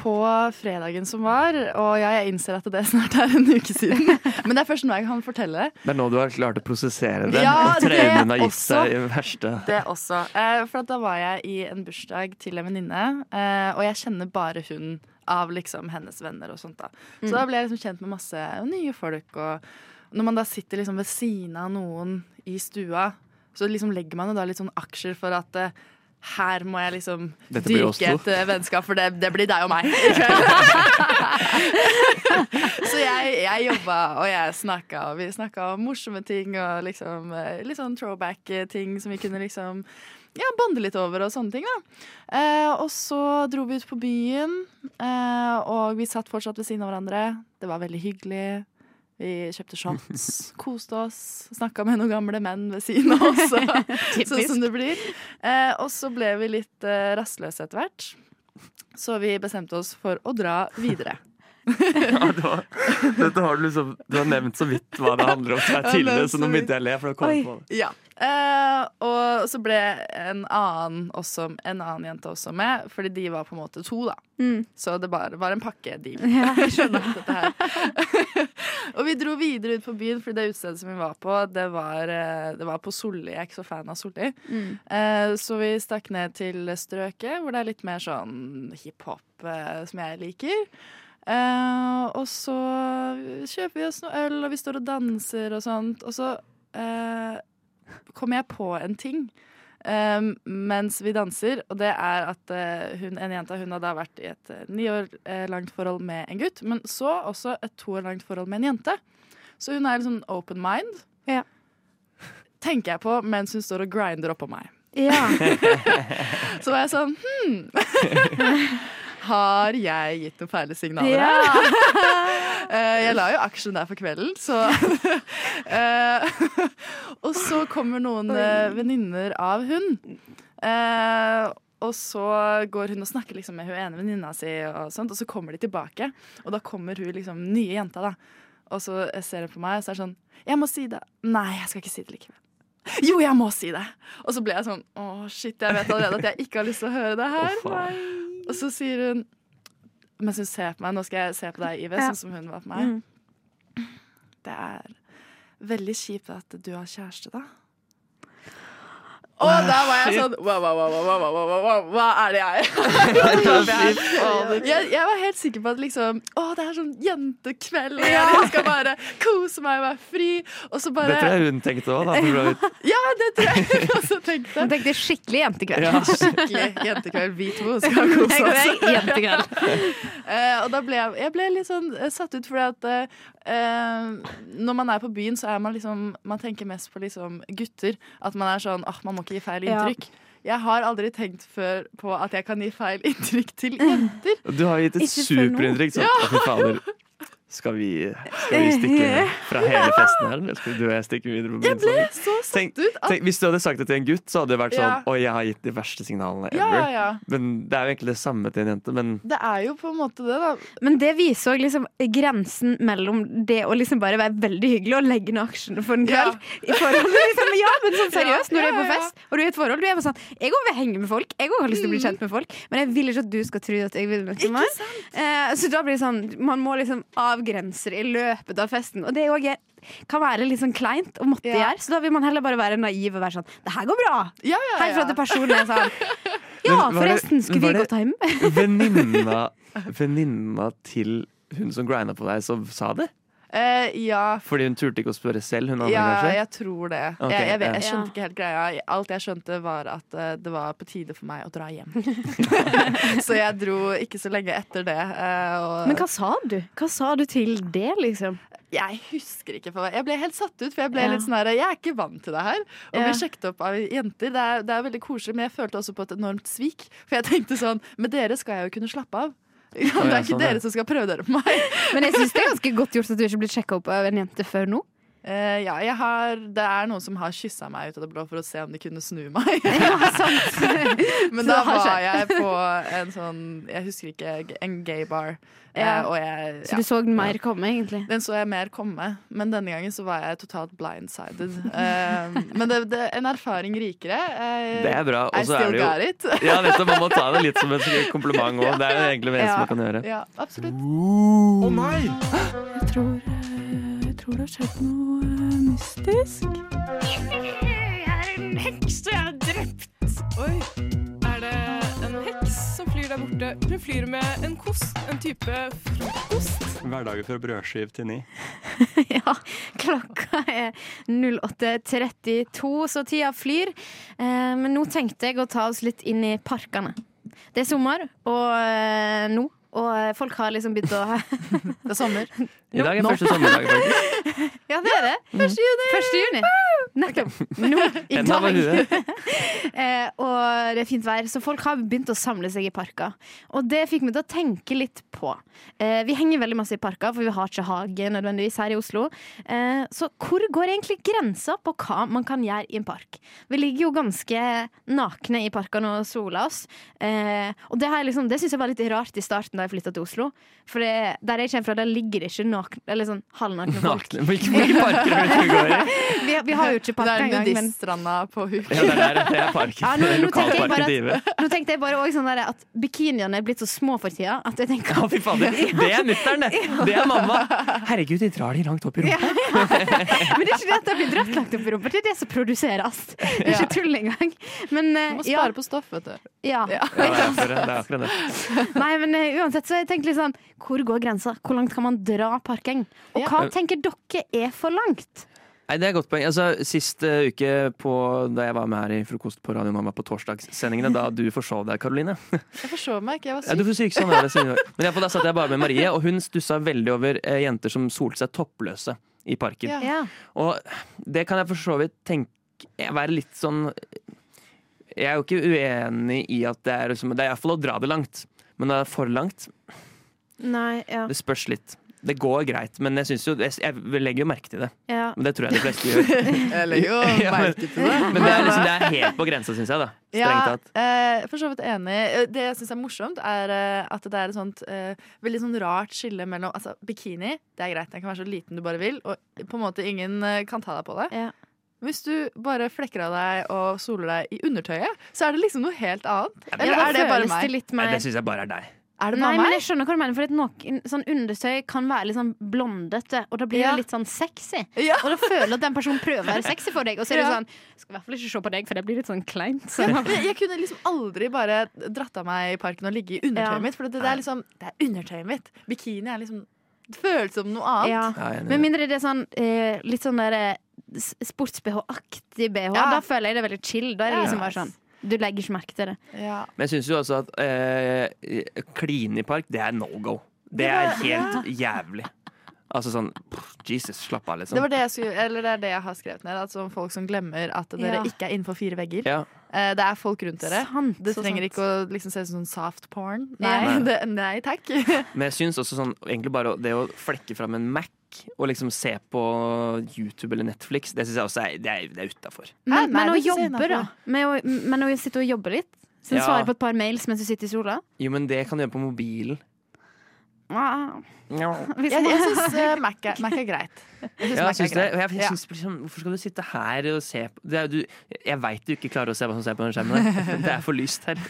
T: på fredagen som var, og jeg innser at det snart er en uke siden. Men det er først nå jeg kan fortelle.
U: Det er nå du har klart å prosessere det.
T: Ja, det
U: Traumene har gitt
T: også.
U: seg i verste
T: Det også. Eh, for at da var jeg i en bursdag til en venninne, eh, og jeg kjenner bare hun av liksom hennes venner og sånt. da. Så
K: Mm.
T: da ble jeg liksom kjent med masse nye folk. Og når man da sitter liksom ved siden av noen i stua, så liksom legger man jo da litt sånn aksjer for at eh, her må jeg liksom
U: Dette blir oss
T: dyrke
U: to.
T: et eh, vennskap, for det, det blir deg og meg. Så jeg, jeg jobba, og jeg snakka, og vi snakka om morsomme ting og liksom eh, litt sånn throwback-ting som vi kunne liksom ja, bonde litt over og sånne ting, da. Eh, og så dro vi ut på byen, eh, og vi satt fortsatt ved siden av hverandre. Det var veldig hyggelig. Vi kjøpte shots, koste oss, snakka med noen gamle menn ved siden av oss. så- sånn som det blir. Eh, og så ble vi litt eh, rastløse etter hvert, så vi bestemte oss for å dra videre.
U: Dette har du liksom Du har nevnt så vidt hva det handler om her
T: Jeg har
U: tidligere,
T: nevnt
U: så
T: så
U: nå
T: vidt.
U: begynte jeg å le. For å komme på det.
T: Ja. Eh, og så ble en annen, også, en annen jente også med, fordi de var på en måte to, da.
K: Mm.
T: Så det bare var en pakkedeal.
K: Ja, jeg
T: Dette her. og vi dro videre ut på byen, fordi det utestedet som vi var på, det var, eh, det var på Solli. Jeg er ikke så fan av Solli.
K: Mm.
T: Eh, så vi stakk ned til strøket, hvor det er litt mer sånn hiphop eh, som jeg liker. Eh, og så kjøper vi oss noe øl, og vi står og danser og sånt. Og så eh, kom jeg på en ting eh, mens vi danser, og det er at eh, hun, en jente hun hadde da vært i et eh, ni år eh, langt forhold med en gutt, men så også et to år langt forhold med en jente. Så liksom hun er litt sånn open mind, tenker jeg på mens hun står og grinder oppå meg. Ja. så var jeg sånn hmm. Har jeg gitt noen feile signaler? her? Eh, jeg la jo aksjen der for kvelden, så Eh, Og så kommer noen eh, venninner av hun. Eh, og så går hun og snakker liksom med hun ene venninna si, og, sånt, og så kommer de tilbake. Og da kommer hun liksom nye jenta, da. Og så ser hun på meg, og så er det sånn Jeg må si det. Nei, jeg skal ikke si det likevel. Jo, jeg må si det! Og så ble jeg sånn Å, shit, jeg vet allerede at jeg ikke har lyst til å høre det her. og så sier hun Mens hun ser på meg, nå skal jeg se på deg, Ive,
K: Ja.
T: sånn som hun var på meg. Det er veldig kjipt at du har kjæreste, da. Og da var jeg sånn wow, wow, wow, wow, wow, wow, wow, wow, Hva er det jeg er? jeg, jeg var helt sikker på at liksom Å, det er sånn jentekveld, og jeg skal bare kose meg og være fri. Og så bare
U: Det tror jeg hun tenkte òg, da. for så vidt.
T: Ja, det tror jeg hun også tenkte.
S: Hun tenkte skikkelig jentekveld.
U: Ja.
T: Skikkelig jentekveld. Vi to skal kose oss.
S: Jeg går, jeg, jentekveld.
T: Eh, og da ble jeg, jeg ble litt sånn eh, satt ut, fordi at eh, eh, når man er på byen, så er man liksom Man tenker mest på liksom gutter. At man er sånn Åh, man må ikke gi feil
U: Ja.
T: inntrykk. Jeg har aldri tenkt før på at jeg kan gi feil inntrykk til jenter.
U: Du har gitt et
T: Ikke før nå.
U: superinntrykk. sånn,
T: Ja.
U: Å, Fy fader. Skal vi, skal vi stikke fra hele festen her, eller skal du og jeg stikke videre? på
T: Jeg
U: byen
T: ble
U: sammen?
T: så satt
U: Tenk,
T: ut. At,
U: tenk, hvis du hadde sagt det til en gutt, så hadde det vært sånn
T: Ja.
U: Oi, jeg har gitt de verste signalene
T: Ja,
U: ever.
T: ja, ja.
U: Men det er jo egentlig det samme til en jente. Men
T: det er jo på en måte det, da.
S: Men det viser òg liksom grensen mellom det å liksom bare være veldig hyggelig og legge ned aksjene for en kveld. I forhold til liksom, ja, men sånn seriøst, når du er på
T: Ja, Mm. ja, ja.
S: fest og du er i et forhold, du er bare sånn Jeg òg vil henge med folk, jeg òg har lyst til å bli kjent med folk, men jeg vil ikke at du skal tro at jeg vil møte meg. Eh, så da blir det sånn Man må liksom avgrense det i løpet av festen, og det òg er kan være litt sånn kleint å måtte gjøre, så da vil man heller bare være naiv og være sånn Det her går bra!
T: Ja, ja,
S: Helt fra
T: ja.
S: til personen er sånn Ja,
U: Men var det-
S: forresten, skulle
U: var
S: vi
U: det-
S: gått hjem?
U: venninna, venninna til hun som grinda på deg, som sa det?
T: Eh, ja,
U: Fordi hun turte ikke å spørre selv, hun andre,
T: ja,
U: kanskje?
T: jeg tror det.
U: Ok,
T: jeg, jeg, vet, jeg
U: ja.
T: skjønte ikke helt greia. Alt jeg skjønte, var at eh, det var på tide for meg å dra hjem. så jeg dro ikke så lenge etter det. eh, og
S: Men hva sa du? Hva sa du til det, liksom?
T: jeg husker ikke. For jeg ble helt satt ut, for jeg ble
S: Ja.
T: litt sånn her Jeg er ikke vant til det her. Å
S: Ja.
T: bli sjekket opp av jenter, det er, det er veldig koselig, men jeg følte også på et enormt svik. For jeg tenkte sånn Med dere skal jeg jo kunne slappe av. Det
S: ja,
T: er
S: sånn,
T: ikke
S: ja.
T: dere som skal prøve dere på meg.
S: Men jeg syns det er ganske godt gjort at du ikke ble sjekka opp av en jente før nå.
T: Eh, ja, jeg har, det er noen som har kyssa meg ut av det blå for å se om de kunne snu meg. Men
S: Så
T: da
S: det har
T: var jeg
S: skjedd.
T: på en sånn Jeg husker ikke. En gay bar. Eh,
S: Ja.
T: og jeg,
S: Så du så den mer komme, egentlig?
T: Den så jeg mer komme. Men denne gangen så var jeg totalt blindsided. Eh, men det, det, en erfaring rikere. Eh,
U: Det er bra.
T: I
U: Og så
T: still
U: er det jo
T: got it.
U: Ja, nettopp. Man må ta det litt som en kompliment òg. Det er jo egentlig det eneste man kan gjøre.
T: Ja, absolutt.
U: Å
T: nei!
M: Jeg tror, eh, jeg tror det har skjedd noe eh, mystisk.
B: Jeg er en heks, og jeg er drept. Oi. Er det en heks som flyr der borte? Hun flyr med en kost, en type frokost.
J: Hverdager fra brødskiv til ni.
S: Klokka er 08.32, så tida flyr. Eh, men nå tenkte jeg å ta oss litt inn i parkene. Det er sommer, og eh, nå. Og eh, folk har liksom begynt å
T: Det er sommer.
U: I dag er
S: Nå.
U: første sommerdag. faktisk.
S: Ja, det er det. Første juni! Nettopp. Nå, i
U: Enda var
S: dag.
U: huet.
S: Eh, og det er fint vær, så folk har begynt å samle seg i parker. Og det fikk meg til å tenke litt på. Eh, vi henger veldig masse i parker, for vi har ikke hage nødvendigvis her i Oslo. Eh, så hvor går egentlig grensa på hva man kan gjøre i en park? Vi ligger jo ganske nakne i parkene og soler oss. Eh, og det, har jeg liksom, det syns jeg var litt rart i starten da jeg flytta til Oslo. For det, der jeg kommer fra, der ligger det ikke nakne, eller sånn halvnakne folk.
U: Nakne. Hvilke hvilke parker er det du går i?
S: vi, vi har jo ikke parker
T: Det er
S: engang. men-
T: nudiststranda på Huk.
U: Ja, det er, der- det er parken.
S: ja,
U: Det er
S: nå, nå, tenkte jeg
U: Lokalparken
S: bare
U: til Ive.
S: at, nå tenkte jeg bare også sånn der, at bikiniene er blitt så små for tida at jeg tenker
U: Å, fy fader. Det er mutter'n, det. Det er mamma. Herregud, de drar de langt opp i rumpa.
S: Men det er ikke det at det blir dratt langt opp i rumpa, det er det som produseres. Det er ikke tull engang. Men, eh,
T: Må
S: ja,
T: spare på stoff, vet du.
S: ja.
U: Ja, det er akkurat det. det. Er akkurat det.
S: Nei, men eh, uansett så har jeg tenkt litt sånn Hvor går grensa? Hvor langt kan man dra parking? Og hva
U: Ja.
S: tenker dere er for langt?
U: Nei, det er et godt poeng. Altså, sist eh, uke på, da jeg var med her i Frokost på Radio Mamma på torsdagssendingene, da du forsov deg, Karoline
T: Jeg forsov meg ikke, jeg var
U: Ja, du får syk sånn er det, Signe. Men i hvert fall, da satt jeg bare med Marie, og hun stussa veldig over eh, jenter som solte seg toppløse i parken.
S: Ja.
U: eh, Og det kan jeg for så vidt tenke Være litt sånn jeg er jo ikke uenig i at det er liksom, Det er iallfall å dra det langt. Men når det er for langt,
P: Nei, ja.
U: det spørs litt. Det går greit, men jeg, synes jo, jeg, jeg legger jo merke til det.
P: Ja.
U: Men det tror jeg de fleste gjør.
T: Jeg legger jo
U: Ja, men-
T: merke til det.
U: Men det er, liksom, det er helt på grensa, syns jeg. da Strengt
T: Ja,
U: tatt.
T: eh, for så vidt enig. Eh, Det jeg syns er morsomt, er eh, at det er et sånt eh, veldig sånn rart skille mellom altså, Bikini, det er greit, den kan være så liten du bare vil, og på en måte ingen eh, kan ta deg på det. Hvis du bare flekker av deg og soler deg i undertøyet, så er det liksom noe helt annet.
S: Ja,
T: Eller
S: da
T: er
S: føles
T: det bare
S: det
T: meg?
S: litt mer-
U: Nei, Det syns jeg bare er deg.
T: Er det
S: Nei,
T: bare
S: men
T: meg?
S: jeg skjønner hva du mener, for noen, sånn undertøy kan være litt sånn blondete, og da blir
T: Ja.
S: det litt sånn sexy. Og da føler du at den personen prøver å være sexy for deg, og så er det
T: Ja.
S: sånn Skal i hvert fall ikke se på deg, for det blir litt sånn kleint. Så.
T: Ja, men jeg kunne liksom aldri bare dratt av meg i parken og ligge i undertøyet
S: Ja.
T: mitt. For det, det er liksom, det er undertøyet mitt. Bikini er liksom Det føles som noe annet.
S: Ja. Med mindre det er sånn eh, litt sånn der eh, s- sports-BH-aktig BH,
T: Ja.
S: da føler jeg det er veldig chill. Da er det
U: Ja.
S: liksom bare sånn Du legger ikke merke til det.
U: Men jeg syns jo også at eh, kline i park, det er no go. Det
T: Det
U: er
T: var-
U: helt jævlig. Altså sånn pff, Jesus, slapp av, liksom.
T: Det, var det, jeg skulle, eller det er det jeg har skrevet ned. At sånn folk som glemmer at dere
U: Ja.
T: ikke er innenfor fire vegger.
U: Ja.
T: Eh, Det er folk rundt dere.
U: Sant,
T: det
U: så
T: trenger
U: sant.
T: ikke å liksom se ut som sånn soft porn. Nei,
U: Ja. Nei.
T: det, nei takk.
U: Men jeg syns også sånn, egentlig bare å- det å flekke fram en Mac og liksom se på YouTube eller Netflix, det syns jeg også er, det er, det er utafor.
T: Nei,
S: Men,
T: nei,
S: men å
T: det synes jeg
S: jobbe, da.
T: innenfor.
S: Med å, men å sitte og jobbe litt. Så
U: Ja.
S: svare på et par mails mens du sitter i sola.
U: Jo, men det kan du gjøre på mobilen.
S: Ah.
U: Ja.
S: Hvis
T: Jeg,
S: man-
T: jeg syns eh, Mac, er- Mac er greit. Jeg
U: Ja,
T: synes Mac
U: jeg
T: er
U: synes det,
T: greit.
U: og jeg, jeg
T: Ja.
U: synes liksom, hvorfor skal du sitte her og se på det er, jo du, Jeg veit du ikke klarer å se hva som skjer på den skjermen. der. Det er for lyst her.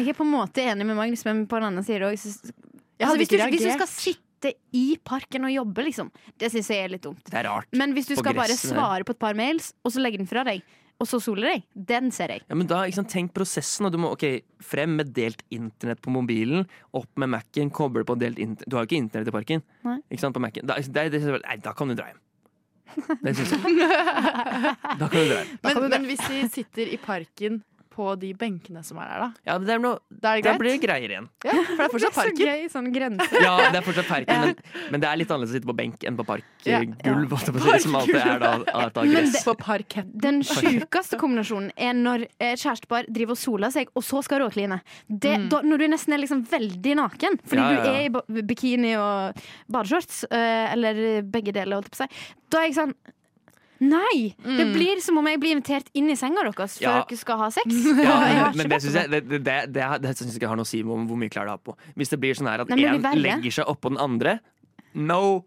S: Jeg er på en måte enig med Magnus, men på den andre siden òg. Altså,
T: Jeg hadde
S: hvis,
T: ikke
S: du- hvis du
T: reagert.
S: skal sitte i parken og jobbe, liksom, det syns jeg er litt dumt.
U: Det er rart.
S: Men hvis du
U: På
S: skal bare
U: gressen her.
S: svare på et par mails, og så legge den fra deg, og så sole deg, den ser jeg.
U: Ja, men da, ikke sant, Tenk prosessen. Og du må, ok, Frem med delt internett på mobilen, opp med Mac-en, koble på delt internett Du har jo ikke internett i parken.
S: Nei.
U: Ikke sant, på Mac-en. Da, det, er- det, er- nei, da kan du dra hjem. Det syns jeg. Da kan du dra hjem.
T: Men, men hvis vi sitter i parken på de benkene som er der, da.
U: Ja, det er noe,
T: Da er det
U: da
T: greit.
U: blir det greier igjen.
T: Ja, for det er fortsatt parken.
S: sånn grense.
U: Ja, det er fortsatt parken, men, men det er litt annerledes å sitte på benk enn på
S: Ja.
U: parkgulv. Ja. Som alltid er da, er da
S: Men
U: gress.
S: det- På Den sjukeste kombinasjonen er når eh, kjærestepar driver og soler seg, og så skal råkline. Det,
P: Mm.
S: da, når du nesten er liksom veldig naken, fordi
P: Ja, ja, ja.
S: du er i ba- bikini og badeshorts, eh, eller begge deler, holdt jeg på å si, da er jeg sånn Nei! Det blir som om jeg blir invitert inn i senga deres før
U: Ja.
S: dere skal ha sex.
U: Ja,
S: Og jeg har
U: men, men
S: ikke
U: det
S: bedt om
U: syns jeg, det, det, det, det, det synes jeg ikke har noe å si om hvor mye klær du har på. Hvis det blir sånn her at
S: Nei, men det
U: én
S: blir verre.
U: legger seg oppå den andre No,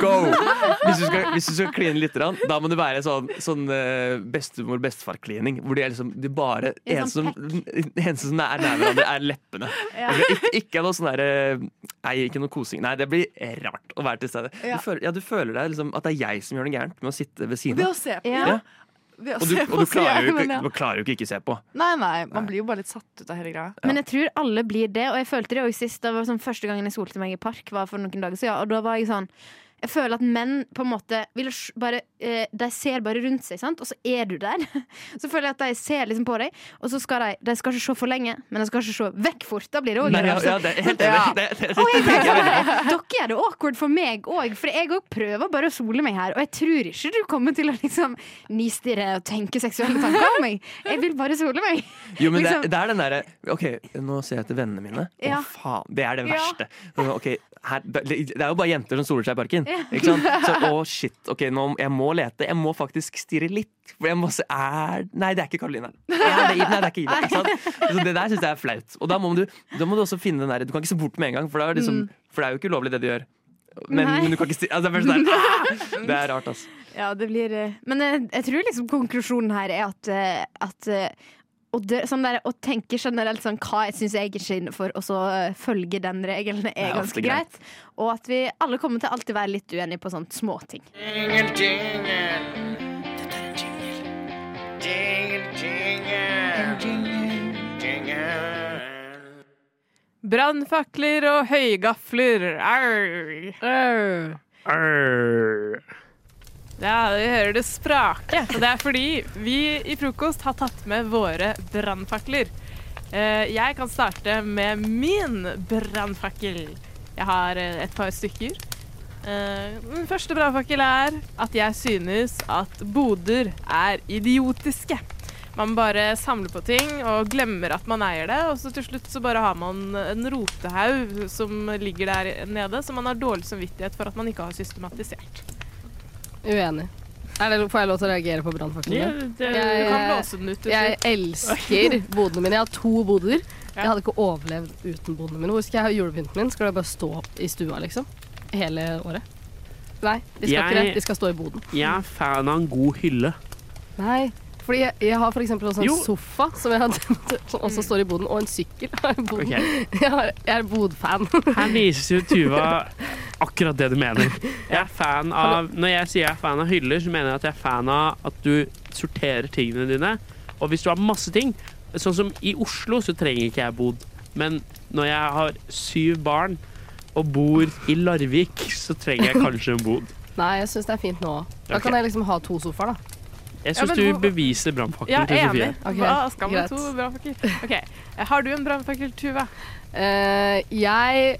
U: go! Hvis du skal, hvis du skal kline litt, grann, da må det være sånn, sånn eh, bestemor-bestefar-klining. Hvor det er liksom det er bare
S: Det er
U: eneste
S: sånn
U: som, det eneste som er nær hverandre, er leppene.
S: Ja.
U: Altså, ikke, ikke noe sånn derre Nei, ikke noe kosing. Nei, det blir rart å være til stede.
T: Ja.
U: Du, føler, ja, du føler deg liksom at det er jeg som gjør noe gærent med å sitte ved siden
T: Ved å
U: av.
T: se på.
U: Ja.
T: Ved å
U: Og du,
T: se
U: og
T: på,
U: du
T: sier
U: klarer
T: jeg,
U: jo
T: men
U: ikke,
T: ja.
U: du klarer jo ikke ikke se på.
T: Nei, nei, man blir jo bare litt satt ut av hele greia.
S: Men jeg tror alle blir det, og jeg følte det også sist. Det var sånn første gangen jeg solte meg i park, var for noen dager siden. Og da var jeg sånn Jeg føler at menn på en måte vil sj- bare, eh, De ser bare rundt seg, sant? og så er du der. Så føler jeg at de ser liksom på deg, og så skal de De skal ikke se for lenge, men de skal ikke se vekk fort. Da blir det òg
U: Nei, ja, ja, det er helt enig. Det, det, det,
S: og sånn. jeg
U: det-
S: bare sånn, Dere gjør det awkward for meg òg, for jeg òg prøver bare å sole meg her. Og jeg tror ikke du kommer til å liksom nistirre og tenke seksuelle tanker om meg. Jeg vil bare sole meg.
U: Jo, men
S: Liksom.
U: det, det er den derre OK, nå ser jeg etter vennene mine. Å,
S: Ja.
U: faen. Det er det
S: Ja.
U: verste. Sånn, Ok, her, det det er jo bare jenter som soler seg i parken.
S: Ja.
U: Ikke sant? Så å, shit. OK, nå, jeg må lete. Jeg må faktisk stirre litt. For jeg må se er, Nei, det er ikke Karoline. Er det Ib? Nei, det er ikke Ib. Ikke sant? Så det der syns jeg er flaut. Og da må, du, da må du også finne den derre Du kan ikke se bort med en gang, for, da er det liksom,
T: Mm.
U: for det er jo ikke ulovlig, det du gjør. Men,
S: Nei.
U: men du kan ikke stirre altså, det, er først der, ah! det er rart, altså.
S: Ja, det blir eh, Men jeg, jeg tror liksom konklusjonen her er at, eh, at eh, å, dø, sånn der, å tenke generelt sånn hva jeg syns jeg ikke er innenfor, og så eh, følge den regelen
P: Det
S: er
P: er
S: ganske
P: alltid greit.
S: greit. Og at vi alle kommer til alltid være litt uenige på sånne småting.
P: Jingle, jingle. Dette er en jingle. Jingle, jingle. Jingle.
B: Brannfakler og høygafler. Arr. Ja, vi hører det sprake. Og det er fordi vi i frokost har tatt med våre brannfakler. Eh, Jeg kan starte med min brannfakkel. Jeg har eh, et par stykker. Eh, Den første brannfakkel er at jeg synes at boder er idiotiske. Man bare samler på ting og glemmer at man eier det, og så til slutt så bare har man en rotehaug som ligger der nede, så man har dårlig samvittighet for at man ikke har systematisert.
E: Uenig. Er det, får jeg lov til å reagere på brannfakten?
B: Ja,
E: din?
B: det- du kan blåse den ut, du
E: Jeg
B: sier.
E: elsker bodene mine. Jeg har to boder. Jeg hadde ikke overlevd uten bodene mine. Hvor skal jeg ha julepynten min? Skal det bare stå i stua, liksom? Hele året? Nei, de skal ikke det.
W: Jeg-
E: De skal stå i boden.
W: Jeg er fan av en god hylle.
E: Nei. Fordi jeg, jeg har for eksempel også en sånn
W: Jo.
E: sofa som jeg har dømt, som også
B: Mm.
E: står i boden, og en sykkel har jeg i boden.
W: Ok.
E: Jeg, har, jeg er bodfan.
W: Her viser jo Tuva akkurat det du mener. Jeg er fan av, når jeg sier jeg er fan av hyller, så mener jeg at jeg er fan av at du sorterer tingene dine. Og hvis du har masse ting, sånn som i Oslo, så trenger ikke jeg bod. Men når jeg har syv barn og bor i Larvik, så trenger jeg kanskje en bod.
E: Nei, jeg syns det er fint nå òg. Da
W: Ok.
E: kan jeg liksom ha to sofaer, da.
W: Jeg
B: Ja,
W: syns
B: men
W: du
B: hvor-
W: beviser brannfakten
B: Ja,
W: til
B: enig.
W: Sofie.
B: Hva skal man
E: greit.
B: to brannfakkel? Ok, Eh, Har du en brannfakkel, Tuva?
E: Eh, jeg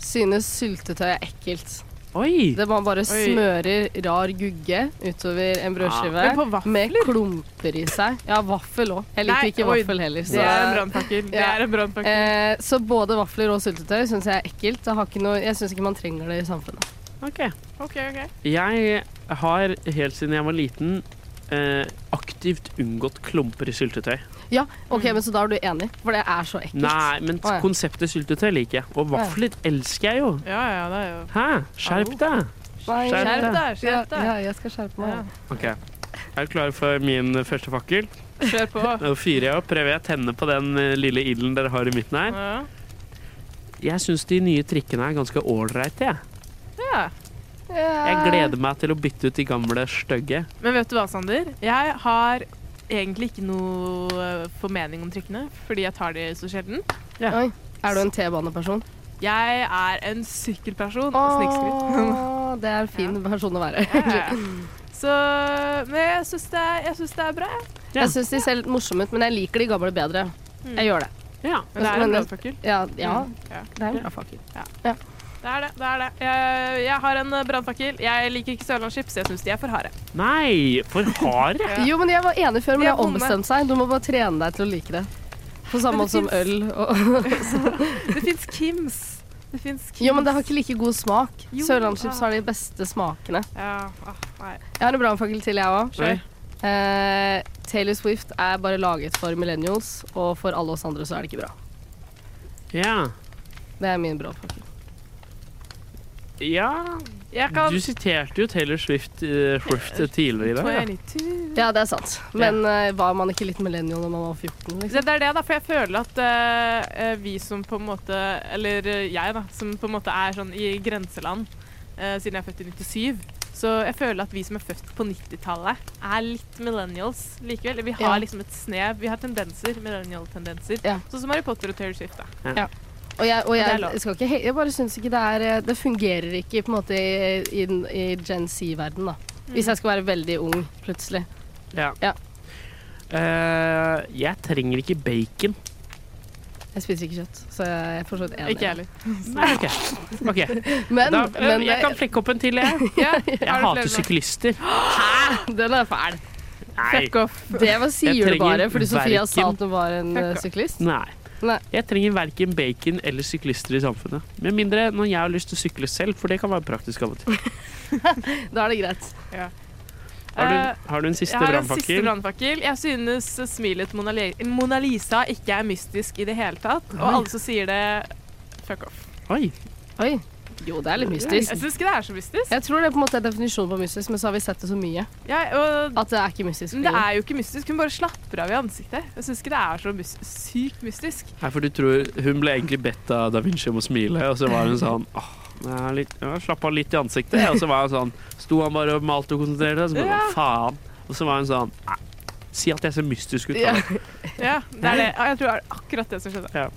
E: synes syltetøy er ekkelt.
W: Oi!
E: Det man bare
B: Oi.
E: smører rar gugge utover en brødskive
B: Ja. Men på
E: med klumper i seg. Ja, vaffel òg. Jeg liker
B: Nei,
E: ikke
B: oi,
E: vaffel heller.
B: Det er en brannfakkel. Det
E: Ja.
B: er en brannfakkel.
E: Eh, så både vafler og syltetøy syns jeg er ekkelt. Jeg, har ikke noe, jeg syns ikke man trenger det i samfunnet.
W: Ok.
B: Ok, ok.
W: Jeg har helt siden jeg var liten eh, aktivt unngått klumper i syltetøy.
E: Ja, ok,
B: Mm.
E: men Så da er du enig? For det er så ekkelt.
W: Nei, men
E: Å, ja.
W: konseptet syltetøy liker jeg. Og vafler elsker jeg jo.
B: Ja, ja, det er jo
W: Hæ? Skjerp deg!
E: Nei,
W: Skjerp deg.
B: skjerp deg.
E: Ja, ja, jeg skal skjerpe meg.
W: OK. Er du klar for min eh, første fakkel?
B: Kjør på.
W: Nå fyrer jeg opp. Prøver jeg å tenne på den eh, lille ilden dere har i midten her.
B: Ja.
W: Jeg syns de nye trikkene er ganske ålreite, jeg.
B: Ja.
W: Jeg gleder meg til å bytte ut de gamle stygge.
B: Men vet du hva, Sander? Jeg har egentlig ikke noe eh, formening om trikkene, fordi jeg tar de så sjelden.
E: Oi, er du en T-baneperson?
B: Jeg er en sykkelperson.
E: Åh,
B: og Snikskritt.
E: det er en fin person å være.
B: Så Men jeg syns det, er- jeg syns det er bra, jeg.
E: Jeg syns de ser litt morsomme ut, men jeg liker de gamle bedre. Jeg gjør det.
B: Ja, Mm. men det er en brannfakkel.
E: Ja, ja,
B: Mm. Ja.
E: det er en brannfakkel. Ja.
B: Det er det. det, er det. Jeg, jeg har en eh, brannfakkel. Jeg liker ikke sørlandschips, jeg syns de er for harde.
W: Nei, for harde!
E: Jo, men jeg var enig før,
B: De
E: men
B: er
E: jeg har
B: vonde.
E: ombestemt seg. Du må bare trene deg til å like det. På samme
B: Men
E: måte
B: det
E: som øl og
B: Det fins Kims. Det fins Kims.
E: Jo, men det har ikke like god smak.
B: Jo, ah.
E: Sørlandschips har de beste smakene.
B: Ja, ah, nei.
E: Jeg har en brannfakkel til, jeg òg.
B: Kjør.
E: Eh, Taylor Swift er bare laget for millennials, og for alle oss andre så er det ikke bra.
W: Ja.
E: Det er min brannfakkel.
W: ja.
B: Jeg
W: Du siterte jo Taylor Swift, eh, Swift tidligere i dag. ja.
E: Ja, det er sant. Men eh, var man ikke litt millennial når man var 14? Liksom?
B: Det, det er det, da. For jeg føler at eh, eh, vi som på en måte Eller eh, jeg, da. Som på en måte er sånn i grenseland eh, siden jeg er født i 97. Så jeg føler at vi som er født på 90-tallet, er litt millennials likevel. Vi har
E: Ja.
B: liksom et snev. Vi har tendenser. Millennial-tendenser. Sånn som Harry Potter og Taylor Swift, da.
E: Ja. Og jeg, og
B: det er
E: jeg,
B: lov.
E: skal ikke, he- jeg bare syns ikke det er eh, Det fungerer ikke på en måte i, i, den- i Gen Z-verden, da.
B: Mm.
E: Hvis jeg skal være veldig ung plutselig.
W: Ja.
E: Ja.
W: Eh, jeg trenger ikke bacon.
E: Jeg spiser ikke kjøtt, så jeg er for så vidt enig.
B: Ikke jeg heller.
W: Nei, ok. Ok.
E: Men,
W: da, eh,
E: men
W: jeg kan flekke opp en til, jeg. Jeg hater syklister.
E: Hæ? Den er fæl.
W: Nei.
E: Fuck off. Det var,
W: Jeg
E: sier du
W: trenger
E: bare fordi Sofia sa
W: verken-
E: at hun var en eh, syklist.
W: Nei.
E: Nei.
W: Jeg trenger verken bacon eller syklister i samfunnet. Med mindre når jeg har lyst til å sykle selv, for det kan være praktisk av og til.
E: Da er det greit.
B: Eh,
W: Har du, har du en siste
B: Jeg har en siste
W: brannfakkel?
B: brannfakkel. Jeg synes smilet Mona, Le Mona Lisa ikke er mystisk i det hele tatt. Og
W: Oi.
B: alle som sier det, fuck off.
W: Oi.
E: Oi. Jo, det er litt mystisk.
B: Jeg syns ikke det er så mystisk.
E: Jeg tror det på en måte er definisjonen på mystisk, men så har vi sett det så mye. at det er ikke mystisk.
B: Men det er jo ikke mystisk. Hun bare slapper av i ansiktet. Jeg syns ikke det er så mys sykt mystisk.
W: Nei, for du tror hun ble egentlig bedt av Da Vinci om å smile, og så var hun sånn åh, jeg er litt, jeg slapp av litt i ansiktet. Og så var hun sånn Sto han bare og malte og konsentrerte seg, og så bare
B: Ja.
W: faen. Og så var hun sånn «Nei, Si at jeg ser mystisk ut, da.
B: Ja. ja, det er det. Ja, Jeg tror det er akkurat det som skjedde.
W: Ja.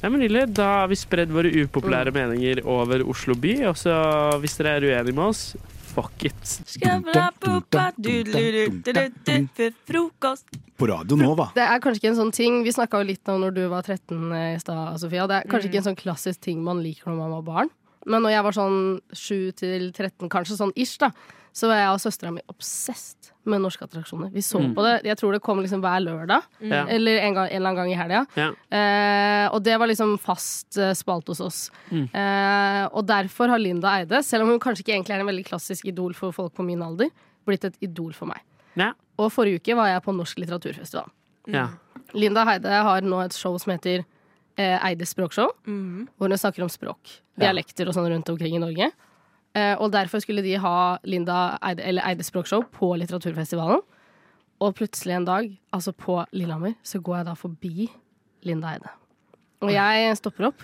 W: Nei, men Lille, da har vi spredd våre
E: Mm.
W: upopulære meninger over Oslo by. Og så hvis dere er uenige med oss, fuck it.
E: Frokost.
Q: På Radio Nova.
E: Det er kanskje ikke en sånn ting Vi snakka jo litt om når du var 13 eh, i stad, Sofia. Det er kanskje
B: Mm.
E: ikke en sånn klassisk ting man liker når man var barn. Men når jeg var sånn 7-13, kanskje sånn ish, da, så var jeg og søstera mi obsessed med norske attraksjoner. Vi så
O: Mm.
E: på det. Jeg tror det kom liksom hver lørdag,
O: Ja.
E: eller en, gang, en eller annen gang i helga.
O: Ja.
E: Eh, og det var liksom fast eh, spalt hos oss.
O: Mm.
E: Eh, og derfor har Linda Eide, selv om hun kanskje ikke egentlig er en veldig klassisk idol for folk på min alder, blitt et idol for meg.
W: Ja.
E: Og forrige uke var jeg på Norsk litteraturfestival.
W: Ja.
E: Linda Heide har nå et show som heter eh, Eides språkshow, hvor hun snakker om språk,
O: Ja.
E: dialekter og sånn rundt omkring i Norge. Eh, og derfor skulle de ha Linda Eide, eller Eides språkshow på litteraturfestivalen. Og plutselig en dag, altså på Lillehammer, så går jeg da forbi Linda Eide. Og jeg stopper opp,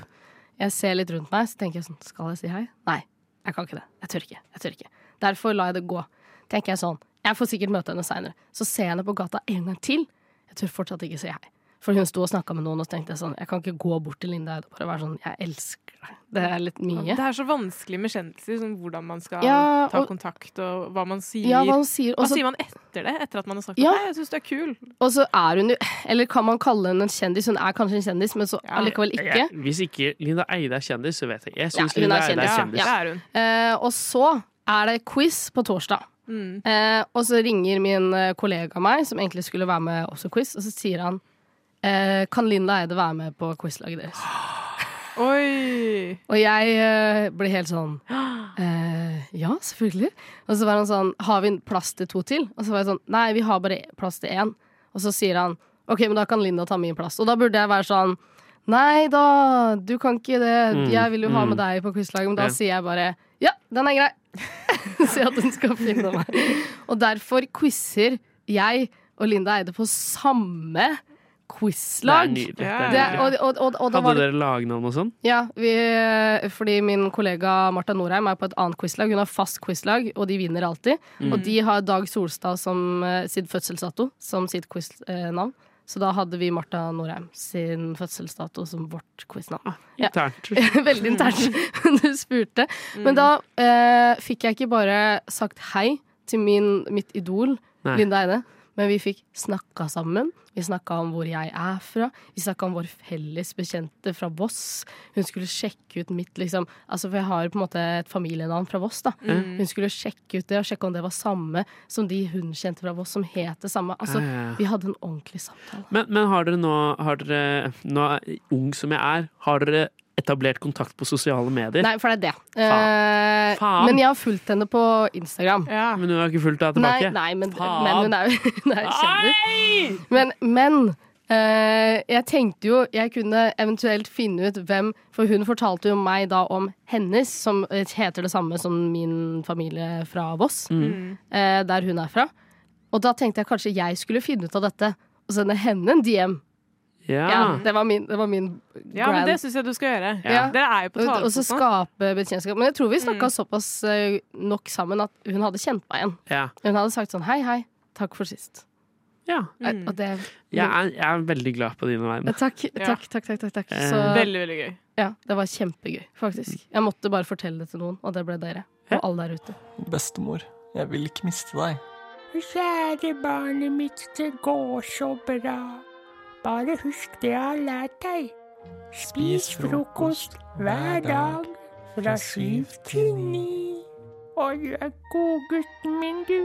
E: jeg ser litt rundt meg, så tenker jeg sånn, skal jeg si hei? Nei, jeg kan ikke det. Jeg tør ikke. Jeg tør ikke. Derfor lar jeg det gå. Tenker jeg sånn, jeg får sikkert møte henne seinere. Så ser jeg henne på gata en gang til. Jeg tør fortsatt ikke si hei. For hun sto og snakka med noen, og så tenkte jeg sånn, jeg kan ikke gå bort til Linda Eide og bare være sånn, jeg elsker deg. Det er litt mye.
B: Det er så vanskelig med kjendiser, sånn hvordan man skal
E: Ja,
B: ta
E: og-
B: kontakt, og hva man sier.
E: Ja, hva man sier, og
B: Hva
E: så-
B: sier man etter det? Etter at man har sagt
E: Ja.
B: 'nei, jeg syns du er kul'.
E: Og så er hun jo Eller kan man kalle henne en kjendis? Hun er kanskje en kjendis, men så allikevel ikke.
W: Jeg- Hvis ikke Linda Eide er kjendis, så vet jeg. Jeg
E: Ja,
W: syns
E: hun
W: Linda
E: er
W: Eide er
E: kjendis.
W: kjendis.
E: Ja. Eh, og så er det quiz på torsdag. Eh, og så ringer min eh, kollega meg, som egentlig skulle være med også quiz, og så sier han eh, Kan Linda Eide være med på quizlaget deres?
B: Oi!
E: Og jeg eh, ble helt sånn eh, Ja, selvfølgelig. Og så var han sånn Har vi plass til to til? Og så var jeg sånn Nei, vi har bare plass til én. Og så sier han OK, men da kan Linda ta min plass. Og da burde jeg være sånn Nei da, du kan ikke det.
O: Mm,
E: Jeg vil jo ha
O: mm.
E: med deg på quizlaget. Men da
O: Ja.
E: sier jeg bare Ja, den er grei. Si at hun skal finne meg. Og derfor quizer jeg og Linda Eide på samme quizlag.
W: Det er nydelig, det
E: Det,
W: er nydelig.
E: og, og, og, og da
W: Hadde
E: var det
W: dere lagnavn og sånn?
E: ja, vi, fordi min kollega Marta Norheim er på et annet quizlag. Hun har fast quizlag, og de vinner alltid.
W: Mm.
E: Og de har Dag Solstad som eh, sitt fødselsdato som sitt quiznavn. Så da hadde vi Marta Norheim sin fødselsdato som vårt quiznavn. Ja.
W: Internt.
E: Veldig internt.
W: Mm.
E: Men du spurte. Men da eh, fikk jeg ikke bare sagt hei til min, mitt idol,
O: Nei.
E: Linda Eide. Men vi fikk snakka sammen. Vi snakka om hvor jeg er fra. Vi snakka om vår felles bekjente fra Voss. Hun skulle sjekke ut mitt liksom Altså, For jeg har på en måte et familienavn fra Voss. da
O: Mm.
E: Hun skulle sjekke ut det og sjekke om det var samme som de hun kjente fra Voss, som het det samme. Altså,
W: Ja, ja, ja.
E: Vi hadde en ordentlig samtale.
W: Men, men har dere nå, har dere, nå er- ung som jeg er, har dere etablert kontakt på sosiale medier?
E: Nei, for det er det. Eh,
W: Faen.
E: Men jeg har fulgt henne på Instagram.
W: Men hun har ikke fulgt deg tilbake?
E: Nei, nei men,
W: Faen.
E: men hun er jo hun er jo kjendis. Men, men eh, jeg tenkte jo jeg kunne eventuelt finne ut hvem For hun fortalte jo meg da om hennes, som eh, heter det samme som min familie fra Voss,
O: Mm.
E: eh, der hun er fra. Og da tenkte jeg kanskje jeg skulle finne ut av dette og sende henne en DM.
W: Ja.
E: det var min, det var min
B: Ja, men
E: grand-
B: det syns jeg du skal gjøre.
E: Ja.
B: Dere er jo på sånn. Mm.
E: og, og så
B: talefot nå.
E: skape bekjentskap. Men jeg tror vi snakka såpass eh, nok sammen at hun hadde kjent meg igjen.
W: Ja.
E: Hun hadde sagt sånn hei, hei, takk for sist. Eh, Og det
W: Jeg, er, jeg er veldig glad på dine
E: Ja,
W: vegne.
E: Takk,
B: Ja.
E: takk, takk, takk, takk, takk.
W: Eh.
B: Veldig, veldig gøy.
E: Ja, det var kjempegøy,
W: Mm.
E: faktisk. Jeg måtte bare fortelle det til noen, og det ble dere. Og alle der ute.
J: Bestemor, jeg vil ikke miste deg.
F: Kjære barnet mitt, det går så bra. Bare husk det jeg har lært deg. Spis frokost hver dag fra syv til ni. Å, du er godgutten min, du.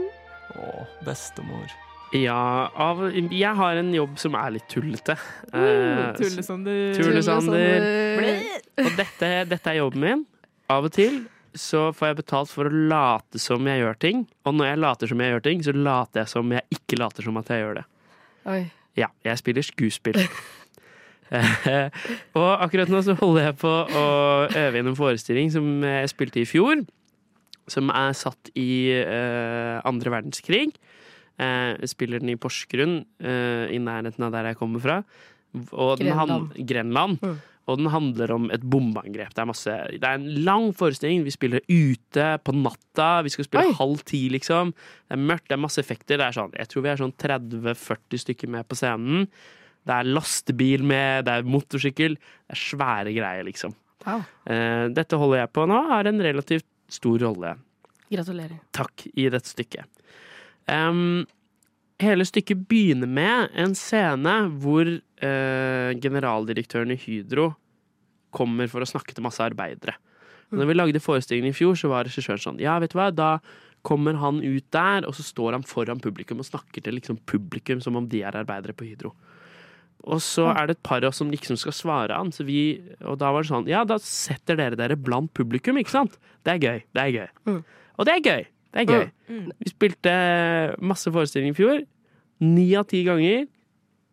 J: Å, bestemor.
W: Ja, av, jeg har en jobb som er litt tullete. Eh,
B: Tullesander.
W: Tullesander. Og dette, dette er jobben min. Av og til så får jeg betalt for å late som jeg gjør ting. Og når jeg later som jeg gjør ting, så later jeg som jeg ikke later som at jeg gjør det.
E: Oi.
W: Ja, jeg spiller skuespill. Eh, og akkurat nå så holder jeg på å øve inn en forestilling som jeg spilte i fjor. Som er satt i eh, andre verdenskrig. Eh, jeg spiller den i Porsgrunn, eh, i nærheten av der jeg kommer fra. Og den han- Grenland. Og den handler om et bombeangrep. Det er, masse, det er en lang forestilling. Vi spiller ute på natta. Vi skal spille halv ti, liksom. Det er mørkt, det er masse effekter. Det er sånn, jeg tror vi er sånn 30-40 stykker med på scenen. Det er lastebil med, det er motorsykkel. Det er svære greier, liksom.
E: Wow.
W: Eh, dette holder jeg på nå. Har en relativt stor rolle
E: Gratulerer.
W: takk i dette stykket. Em, hele stykket begynner med en scene hvor eh, generaldirektøren i Hydro kommer for å snakke til masse arbeidere. Men når vi lagde forestillingen i fjor, så var regissøren sånn Ja, vet du hva, da kommer han ut der, og så står han foran publikum og snakker til liksom publikum som om de er arbeidere på Hydro. Og så er det et par av oss som liksom skal svare han, så vi, og da var det sånn Ja, da setter dere dere blant publikum, ikke sant? Det er gøy. Det er gøy. Og det er gøy. Det er gøy. Vi spilte masse forestillinger i fjor. Ni av ti ganger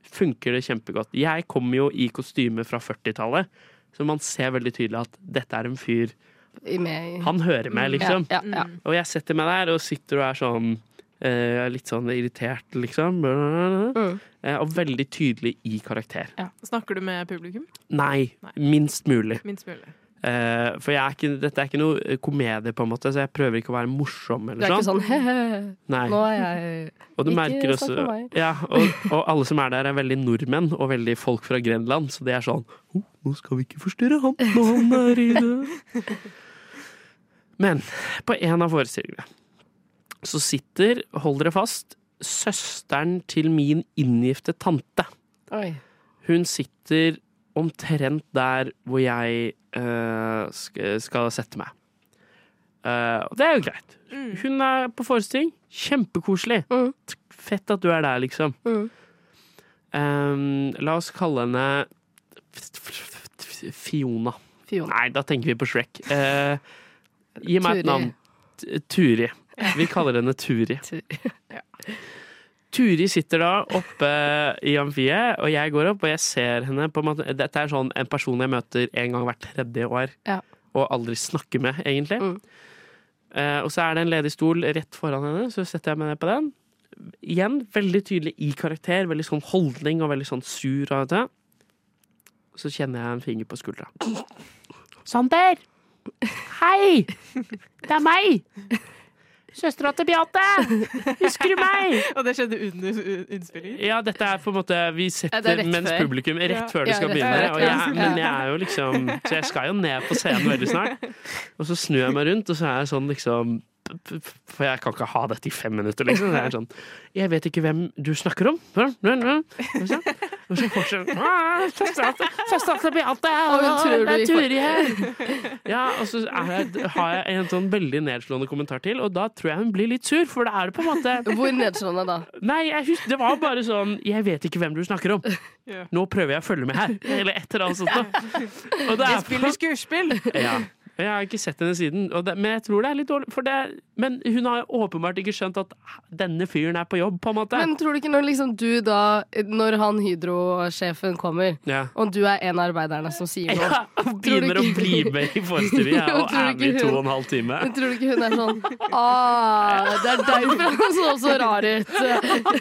W: funker det kjempegodt. Jeg kom jo i kostyme fra 40-tallet, så man ser veldig tydelig at dette er en fyr
E: Med- Mm.
W: Han hører meg, liksom.
E: Ja, ja, ja.
W: Og jeg setter meg der og sitter og er sånn eh, litt sånn irritert, liksom.
B: Mm.
W: Eh, og veldig tydelig i karakter.
B: Snakker du med publikum?
W: Nei, minst mulig.
B: Minst mulig.
W: Eh, for jeg er ikke, dette er ikke noe eh, komedie, på en måte, så jeg prøver ikke å være morsom.
E: Du
W: Eller
E: er ikke sånn he-he,
W: Nei.
E: nå er jeg
W: Og du
E: snakk
W: merker også
E: med meg.
W: ja, og, og alle som er der, er veldig nordmenn og veldig folk fra Grenland, så det er sånn oh, Nå skal vi ikke forstyrre han når han er i det. Men på en av forestillingene så sitter, hold dere fast, søsteren til min inngifte tante.
E: Oi.
W: Hun sitter omtrent der hvor jeg eh, sk- skal sette meg. Eh, og det er jo greit.
E: Mm.
W: Hun er på forestilling. Kjempekoselig. Fett at du er der, liksom.
E: Mm.
W: Eh, la oss kalle henne Fiona.
E: Fiona.
W: Nei, da tenker vi på Shrek. Eh, gi meg
E: Turi.
W: et navn. T- Turi. Vi kaller henne Turi. Turi sitter da oppe i amfiet, og jeg går opp og jeg ser henne på en måte. Dette er sånn en person jeg møter en gang hvert tredje år,
E: Ja.
W: og aldri snakker med, egentlig. Eh, og så er det en ledig stol rett foran henne, så setter jeg meg ned på den. Igjen veldig tydelig i karakter, veldig sånn holdning og veldig sånn sur. Og det. Så kjenner jeg en finger på skuldra.
F: Sander! Hei! Det er meg! Søstera til Beate! Husker du meg?
B: Og det skjedde under innspillingen?
W: Ja, dette er på en måte Vi
B: Ja, det
W: setter
B: er rett
W: mens
B: før.
W: publikum rett
B: Ja.
W: før det
B: Ja,
W: skal
B: rett-
W: begynne.
B: ja, rett
W: og
B: før det
W: jeg,
B: skal
W: men
B: begynne.
W: jeg er jo liksom Så jeg skal jo ned på scenen veldig snart. Og så snur jeg meg rundt, og så er jeg sånn liksom For jeg kan ikke ha dette i fem minutter, liksom. Så jeg er sånn Jeg vet ikke hvem du snakker om. Og så- og så fortsetter «Ah, Søstera til- søstera til Beate!
F: Og hun tror
W: Det er
F: du-
W: Turi her! Ja, og så er jeg, har jeg en sånn veldig nedslående kommentar til, og da tror jeg hun blir litt sur, for da er det på en måte
E: Hvor nedslående da?
W: Nei, jeg husker, det var bare sånn Jeg vet ikke hvem du snakker om. Nå prøver jeg å følge med her. Eller et eller annet sånt. da. Og det
B: Jeg
W: er-
B: spiller skuespill!
W: Ja. Jeg har ikke sett henne siden, og det, men jeg tror det er litt dårlig. For det, men hun har åpenbart ikke skjønt at denne fyren er på jobb, på en måte.
E: Men tror du ikke når liksom du da Når han Hydro-sjefen kommer,
W: Ja.
E: og du er en av arbeiderne som sier noe
W: Ja, hun begynner å bli med i forestillingen
E: Jo,
W: og
E: tror
W: er
E: du
W: med i
E: ikke
W: to
E: hun-
W: og en halv time.
E: Men tror du ikke hun er sånn ah, Det er derfor han så så rar ut.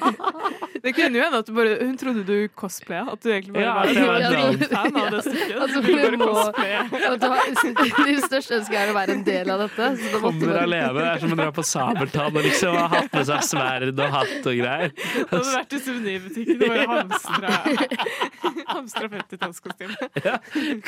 B: Det kunne jo hende at du bare Hun trodde du cosplaya. At du egentlig bare
E: Ja,
B: var
E: at jeg var
B: Ja,
E: down.
B: fan av det stykket.
E: Altså,
B: Du ville
E: hun
B: bare
E: må,
B: cosplaye.
E: at du har, ditt største ønske er å være en del av dette. Så det måtte
W: Kommer
E: bare-
W: alene. Det er som å dra på Sabeltann og liksom ha hatt med seg sverd og hatt og greier.
B: Du hadde vært i suvenirbutikken og bare hamstra, hamstra 50-tallskostyme.
W: Ja,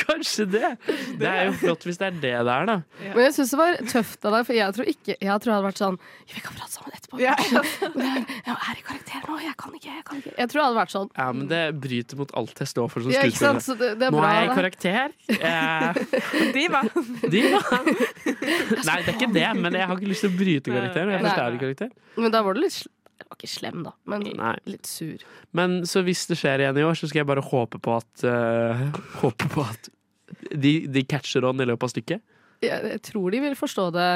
W: kanskje det. Det er jo flott hvis det er det det er, da.
E: Men jeg syns det var tøft av deg, for jeg tror ikke Jeg tror jeg hadde vært sånn Vi kan prate sammen etterpå. kanskje». Men jeg, jeg er i karakter nå, jeg kan ikke, jeg kan ikke. Jeg tror jeg hadde vært sånn.
W: Ja, men det bryter mot alt jeg står for som
E: Ja, ikke sant,
W: skuespiller.
E: så det- det er
W: Nå
E: bra,
W: er jeg i
E: da.
W: karakter. Eh,
B: Diva.
W: Diva. Nei, det er ikke det, men jeg har ikke lyst til å bryte karakteren. Jeg
E: Nei.
W: forstår i karakter.
E: Men da var du litt sl- Jeg var ikke slem, da, men
W: Nei.
E: litt sur.
W: Men så hvis det skjer igjen i år, så skal jeg bare håpe på at eh, Håpe på at de, de catcher on i løpet av stykket.
E: jeg, jeg tror de vil forstå det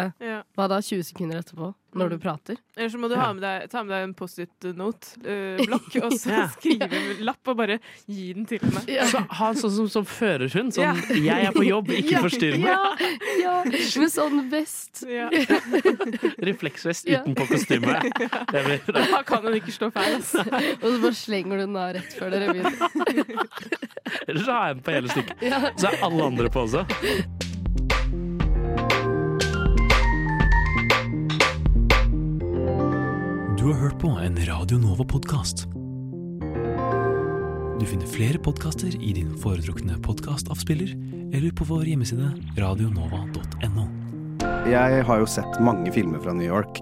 E: Hva da, 20 sekunder etterpå, når du prater.
B: Ellers så må du ha med deg, ta med deg en Post-It-note-blokk, og så
W: Ja.
B: skrive en lapp og bare gi den til meg.
W: Så ha en sånn som, som førerhund. Sånn
B: Ja.
W: 'jeg er på jobb,
E: Ja,
W: ikke forstyrr meg'.
E: Ja, ja, med sånn vest.
W: Refleksvest
E: Ja.
W: utenpå kostymet. Det blir bra.
B: Da kan hun ikke stå feil. ass.
E: Og så bare slenger du den av rett før dere begynner.
W: Ellers så har jeg den på hele stykket.
E: Ja.
W: Så er alle andre på også.
A: Du har hørt på en Radio Nova-podkast. Du finner flere podkaster i din foretrukne podkastavspiller eller på vår hjemmeside radionova.no.
Q: Jeg har jo sett mange filmer fra New York.